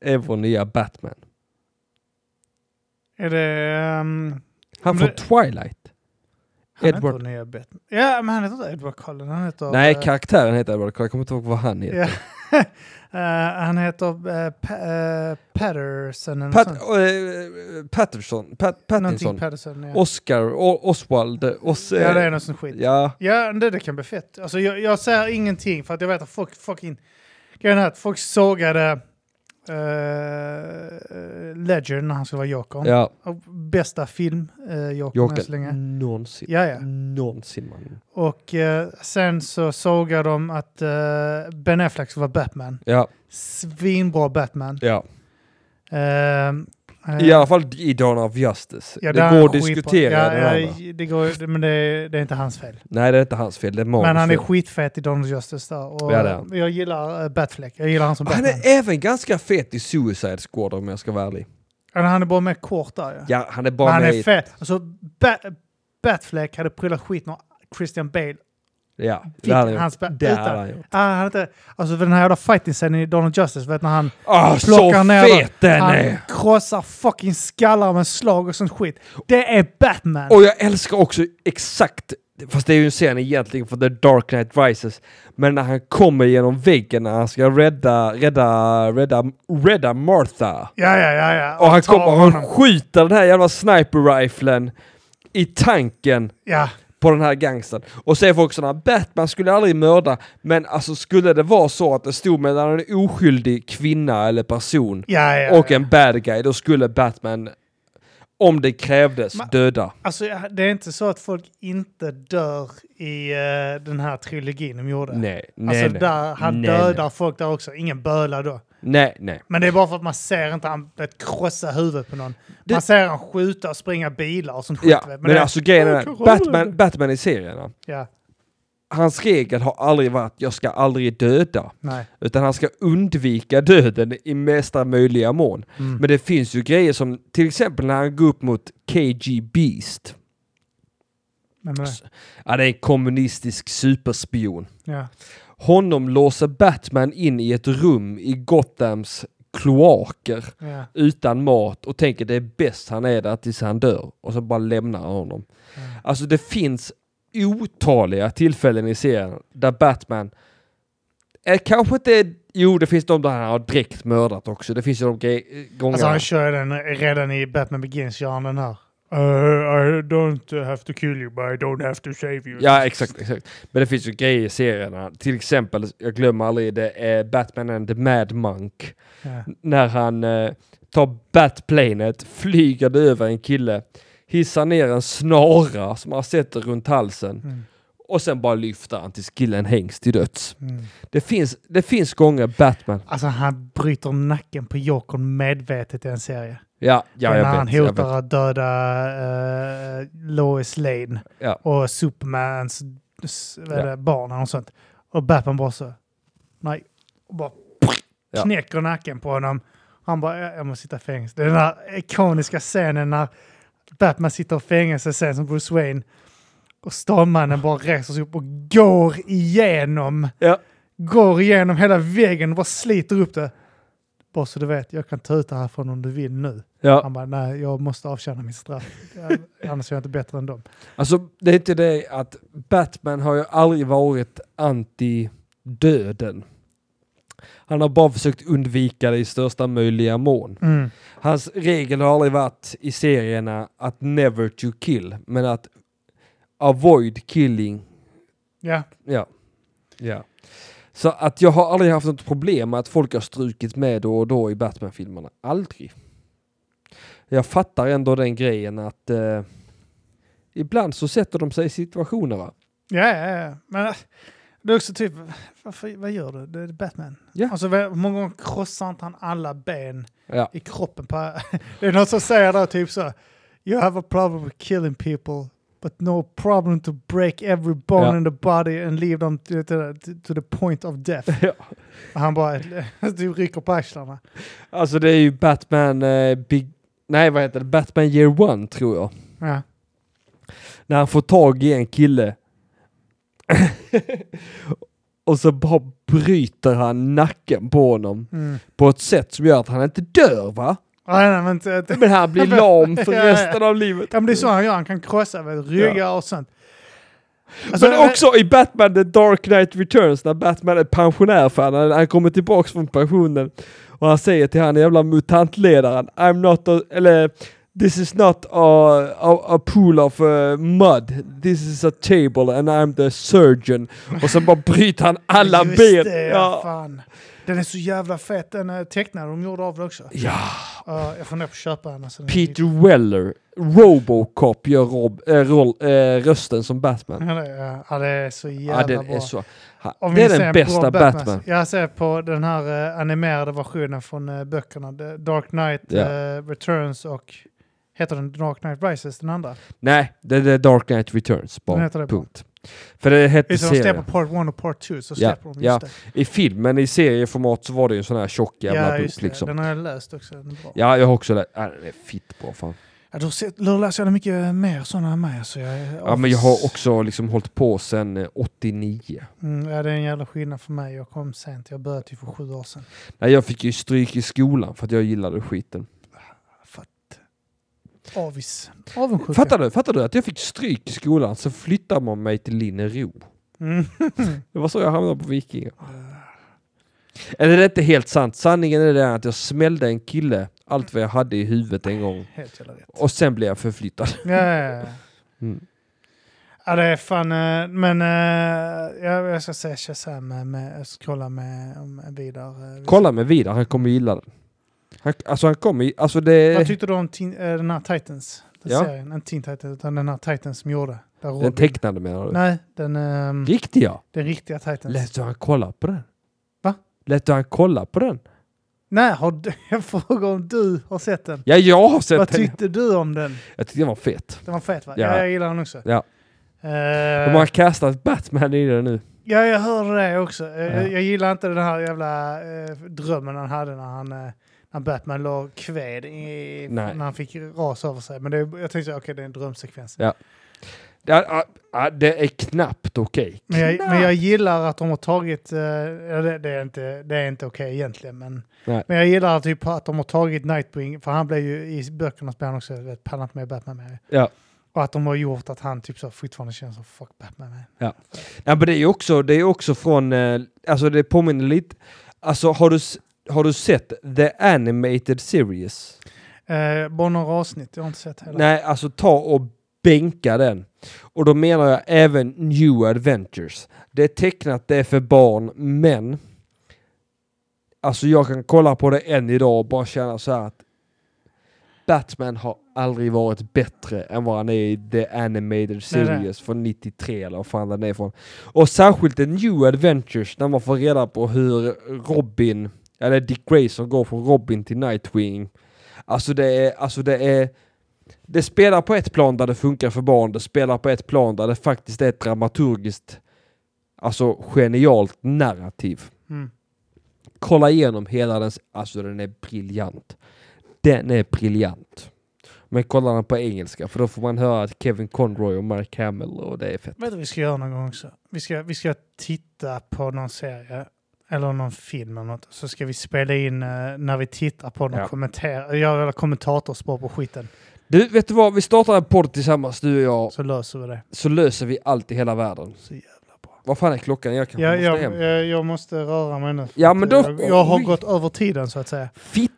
är vår nya Batman? Är det... ehm, Han Men från det- Twilight. han Edward. Edward. Heter nya Batman. Ja, men han heter inte Edward Cullen. Han heter... Nej, eh, karaktären heter Edward Cullen, jag kommer inte ihåg vad han heter. ja. Eh, han heter eh, pa eh, Patterson. eller Pat, sånt. eh, Patterson, Pat, Någonting Pattinson, Patterson. Ja. Oscar, o, Oswald, eh, Os, ja, det är något sånt skit. ja, Ja, det, det kan bli fett. Alltså, jag, jag säger ingenting för att jag vet att folk fucking... Grejen är att folk sågade uh, Ledger när han skulle vara Jokern. ja. Och Bästa film, uh, Jokern än så Joker. Mm. länge. Någonsin. Ja, ja. Någonsin man. Och eh, sen så sågade de att eh, Ben Affleck skulle vara Batman. Ja, Svinbra Batman. ja. Ehm, eh, I alla fall i Dawn of Justice. ja, det där går är att skitbra. diskutera Ja, den ja, andra. det går, men det, det är inte hans fel. Nej, det är inte hans fel. Det är Marvels Men han är fel. skitfet i Donald Justice där. Och Ja, det är han. Jag gillar eh, Batfleck. Jag gillar han som Han Batman. är även ganska fet i Suicide Squad om jag ska vara ärlig. Han är, han är bara mer kort där ja. Ja, han är Men bara han med är i... fet. Alltså, ba- Batfleck hade prylat skit när Christian Bale Ja, fick hade han hans... gjort. Ba- Det utan- hade han gjort. Ah, han hade inte, alltså den här jävla fighting-scenen i Donald Justice, vet när han, Ah, plockar så ner den. fet den han är! krossar fucking skallar med slag och sånt skit. Det är Batman! Och jag älskar också exakt, fast det är ju en scen egentligen för The Dark Knight Rises, men när han kommer genom väggen när han ska rädda, rädda, rädda, rädda Martha. ja, ja, ja, ja. Och han tar kommer och han skjuter den här jävla sniper-riflen i tanken Ja, på den här gangstern. Och säger folk sådana, Batman skulle aldrig mörda, men alltså skulle det vara så att det stod mellan en oskyldig kvinna eller person ja, ja. och ja. en bad guy, då skulle Batman, om det krävdes, Ma- döda. Alltså, ja, det är inte så att folk inte dör i eh, den här trilogin de gjorde. Nej, nej, Alltså nej. där, han Nej, dödar folk där också. Ingen bölar då. nej, nej. Men det är bara för att man ser inte han vet, krossa huvudet på någon. Det- Man ser han skjuta och springa bilar och sånt skit. Ja, vet. men, det- alltså grejen är, Jag den, kan hålla Batman, det. Batman i serierna, Ja, hans regel har aldrig varit jag ska aldrig döda, nej. utan han ska undvika döden i mesta möjliga mån. Mm. Men det finns ju grejer som, till exempel när han går upp mot KG Beast, Men, men, alltså- ja, det är en kommunistisk superspion. ja. Honom låser Batman in i ett rum i Gothams kloaker Ja. utan mat och tänker det är bäst han är där tills han dör och så bara lämnar han honom. Ja. Alltså det finns otaliga tillfällen i serien där Batman är kanske inte, jo det finns de där han har direkt mördat också, det finns ju de gre- gångerna. Alltså han kör ju den redan i Batman Begins, gör han den här. Uh, I don't have to kill you, but I don't have to save you. Ja, exakt, exakt. Men det finns ju grejer i serierna. Till exempel, jag glömmer aldrig det, är Batman and the Mad Monk. Ja. När han eh, tar Batplanet, flyger det över en kille, hissar ner en snara som han sätter runt halsen Mm. och sen bara lyfter han tills killen hängs till döds. Mm. Det finns, det finns gånger Batman... Alltså han bryter nacken på Jokern medvetet i en serie. Ja, ja när jag vet. han jag vet. hotar att döda eh, Lois Lane Ja. och Supermans s- vad är Ja. det, barn och sånt. Och Batman bara så, nej, och bara Ja. knäcker nacken på honom. Han bara, jag jag måste sitta i fängelse. Det är den här ikoniska scenen när Batman sitter i fängelse sen som Bruce Wayne. Och Stålmannen bara reser sig upp och går igenom, Ja. går igenom hela väggen och bara sliter upp det. Bara så du vet, jag kan ta ut det här från om du vill nu. Ja. Han bara, nej, jag måste avtjäna mitt straff. Annars är jag inte bättre än dem. Alltså, det är inte det att Batman har ju aldrig varit anti-döden. Han har bara försökt undvika det i största möjliga mån. Mm. Hans regel har aldrig varit i serierna att never to kill, men att avoid killing. Ja, Ja. ja. Så att jag har aldrig haft något problem med att folk har strukit med då och då i Batman-filmerna. Aldrig. Jag fattar ändå den grejen att eh, ibland så sätter de sig i situationer. Va? ja, ja. ja. Men äh, det är också typ, varför, vad gör du? Det är Batman. Ja. Alltså, vad- hur många gånger krossar inte han alla ben Ja. i kroppen på... det är någon som säger där typ så, you have a problem with killing people. But no problem to break every bone Ja. in the body and leave them to, to, to the point of death. Ja. Och han bara, du rycker på axlarna. Alltså det är ju Batman... Eh, Big... Nej, vad heter det? Batman Year One tror jag. Ja. när han får tag i en kille och så bara bryter han nacken på honom Mm. på ett sätt som gör att han inte dör va? Nej, nej, men äh, inte, Men han blir lam för Ja, ja. resten av livet. Ja, men det är så han gör. Han kan krossa vet, ryggar och sånt. Alltså, Men också i Batman The Dark Knight Returns när Batman är pensionär för han, han kommer tillbaks från pensionen och han säger till han jävla mutantledaren I'm not a, eller This is not a, a, a pool of uh, mud. This is a table and I'm the surgeon. Och sen bara bryter han alla Just ben. Det, ja. ja. fan. Den är så jävla fet, den eh, tecknade de gjorde av det också. ja. Ja, jag funderar på att köpa den. Alltså, den är lite- Peter Weller, Robocop, gör Rob, äh, roll, äh, rösten som Batman. Ja, det är- Ja, det är så jävla Ja, den bra. är så... Ha, Om det vi är ser på den bästa Batman. Jag ser på den här eh, animerade versionen från eh, böckerna. The Dark Knight Ja. eh, Returns och heter den Dark Knight Rises, den andra? Nej, det är The Dark Knight Returns. Bara. Den heter det bara. Punkt. För det hette Just det, de släpper serien. Part 1 och Part 2 så Ja, släpper de just ja. det. I filmen, i serieformat så var det ju en sån här tjock jävla just bok det. liksom. Den har jag läst också. Den är bra. Ja. Ja, jag har också läst... Ja, den är fitt bra fan. då, ser- då läser jag mycket mer sådana med. Så jag, är- Ja, men jag har också liksom hållit på sedan eh, 89. Mm, ja, det är en jävla skillnad för mig. Jag kom sent. Jag började typ för sju år sedan. Nej, jag fick ju stryk i skolan för att jag gillade skiten. Avis. Avundsjuka. Fattar du? Fattar du att jag fick stryk i skolan så flyttade man mig till Linnero. Mm. Det var så jag hamnade på Vikingar. Eller det är inte helt sant. Sanningen är den att jag smällde en kille allt vad jag hade i huvudet en gång. Helt jävla rätt. Och sen blev jag förflyttad. Ja, ja, ja. Mm. Ja, det är fan... eh, Men eh, jag, jag ska se Shazam med, med scrolla med om vidare. eh, Kolla med Vidar, han kommer gilla den. Han, alltså han kommer... i- Alltså Vad det... tyckte du om teen, eh, den här Titans? Den Ja. serien. Inte Teen Titans, utan den här Titans som gjorde. Där Robin- Den tecknade menar du? Nej, den, ehm, Riktiga? den riktiga Titans. Lät du han kolla på den? Va? Lät du han kolla på den? Nej, har du, jag frågar om du har sett den. Ja, jag har sett Vad den. tyckte du om den? Jag tyckte den var fet. Den var fet va? Ja. Ja, jag gillar den också. Ja. Eh, De har kastat Batman i den nu. ja, jag hörde det också. Eh, Ja. Jag, jag gillar inte den här jävla eh, drömmen han hade när han eh, när Batman låg kved i, Nej. när han fick ras över sig. Men det, jag tänkte så, okej det är en drömsekvens. Ja. Det är, ah, ah, det är knappt okej. Men jag, Knappt. men jag gillar att de har tagit, eh, ja, det, det är inte, det är inte okej egentligen, men, Nej. men jag gillar typ att de har tagit Nightwing, för han blev ju i böckerna spelar han också rätt pannat med Batman med. Ja. Och att de har gjort att han typ så fortfarande känns som fuck Batman med. Ja, men det är ju också, det är också från, eh, alltså det påminner lite, alltså har du, s- har du sett The Animated Series? Eh, bara några avsnitt, jag har inte sett hela. Nej, alltså ta och bänka den. Och då menar jag även New Adventures. Det är tecknat, det är för barn, men alltså jag kan kolla på det än idag och bara känna så här att Batman har aldrig varit bättre än vad han är i The Animated Nej, Series nej. från 93 eller vad fan den är från. Och särskilt The New Adventures när man får reda på hur Robin, eller Dick Grayson går från Robin till Nightwing. Alltså det är, alltså det är det spelar på ett plan där det funkar för barn, det spelar på ett plan där det faktiskt är ett dramaturgiskt, alltså genialt narrativ. Mm. Kolla igenom hela den, alltså den är briljant. Den är briljant. Men kolla den på engelska för då får man höra att Kevin Conroy och Mark Hamill och det är fett. Vet du vad vi ska göra någon gång också? Vi ska, vi ska titta på någon serie eller någon film eller något. Så ska vi spela in eh, när vi tittar på den Ja. och kommentera. Jag vill kommentatorspår på skiten. Du, vet du vad? Vi startar en podd tillsammans du och jag Så löser vi det. så löser vi allt i hela världen. Så jävla bra. Vad fan är klockan? Jag kanske Jag, måste jag, hem. jag, eh, jag måste röra mig nu. Ja, men då- jag, jag har Oj. gått över tiden så att säga. Fitta!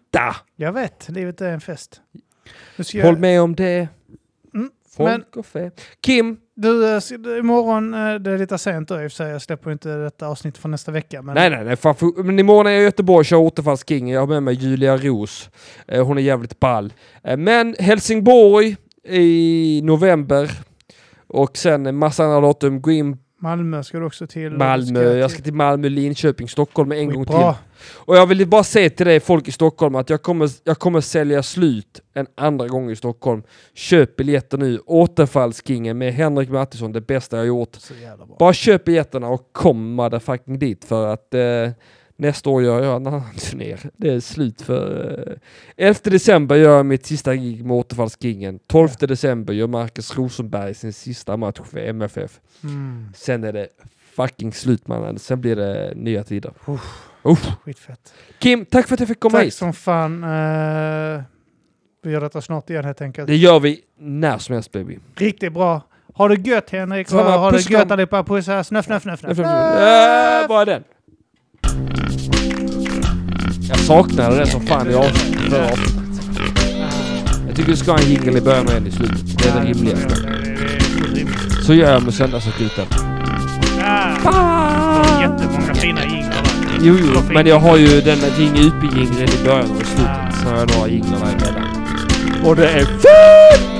Jag vet, livet är en fest. Nu ska Håll jag, med om det. Mm, Folk och fä. Kim, du, eh, s- du, imorgon, eh, det är lite sent då i och för sig, jag släpper ju inte detta avsnitt från nästa vecka. Men Nej, nej, nej. Fan, för, men imorgon är jag i Göteborg och kör återfallskingen. Jag har med mig Julia Ros. Eh, hon är jävligt ball. Eh, men Helsingborg i november. Och sen en massa andra datum. Gå in Malmö ska du också till. Malmö. Jag ska till Malmö, Linköping, Stockholm en gång Bra. till. Och jag vill bara säga till dig folk i Stockholm att jag kommer, jag kommer sälja slut en andra gång i Stockholm. Köp biljetter nu. Återfallskingen med Henrik Mattisson. Det bästa jag gjort. Så jävla bra. Bara köp biljetterna och kom motherfucking dit för att eh, nästa år gör jag en annan turné. Det är slut för... Eh, 11 december gör jag mitt sista gig med Återfallskingen. 12 december gör Marcus Rosenberg sin sista match för MFF. Mm, Sen är det fucking slut mannen. Sen blir det nya tider. Uff. Uff. skitfett. Kim, tack för att jag fick komma Tack hit. som fan. eh, vi gör detta snart igen helt enkelt. Det gör vi när som helst baby. Riktigt bra. Ha det gött Henrik. Samma, Ha det puss och gött kram. allihopa. Pussar. Snöff, snöff, snöff. snöff. Äh, Bara den. Jag saknade den som fan i avsnittet. förra avsnittet. Jag tycker du ska ha en jingle i början och en i slutet. Det är det rimligaste. Det är- det är rimligt. Så gör jag med söndagsakuten. 啊 Ah, Jättemånga fina jinglar där. Jo, jo, men jag har ju den där jing ut i jinglen i början och i slutet. Så har jag några jinglar däremellan. Och det är fint!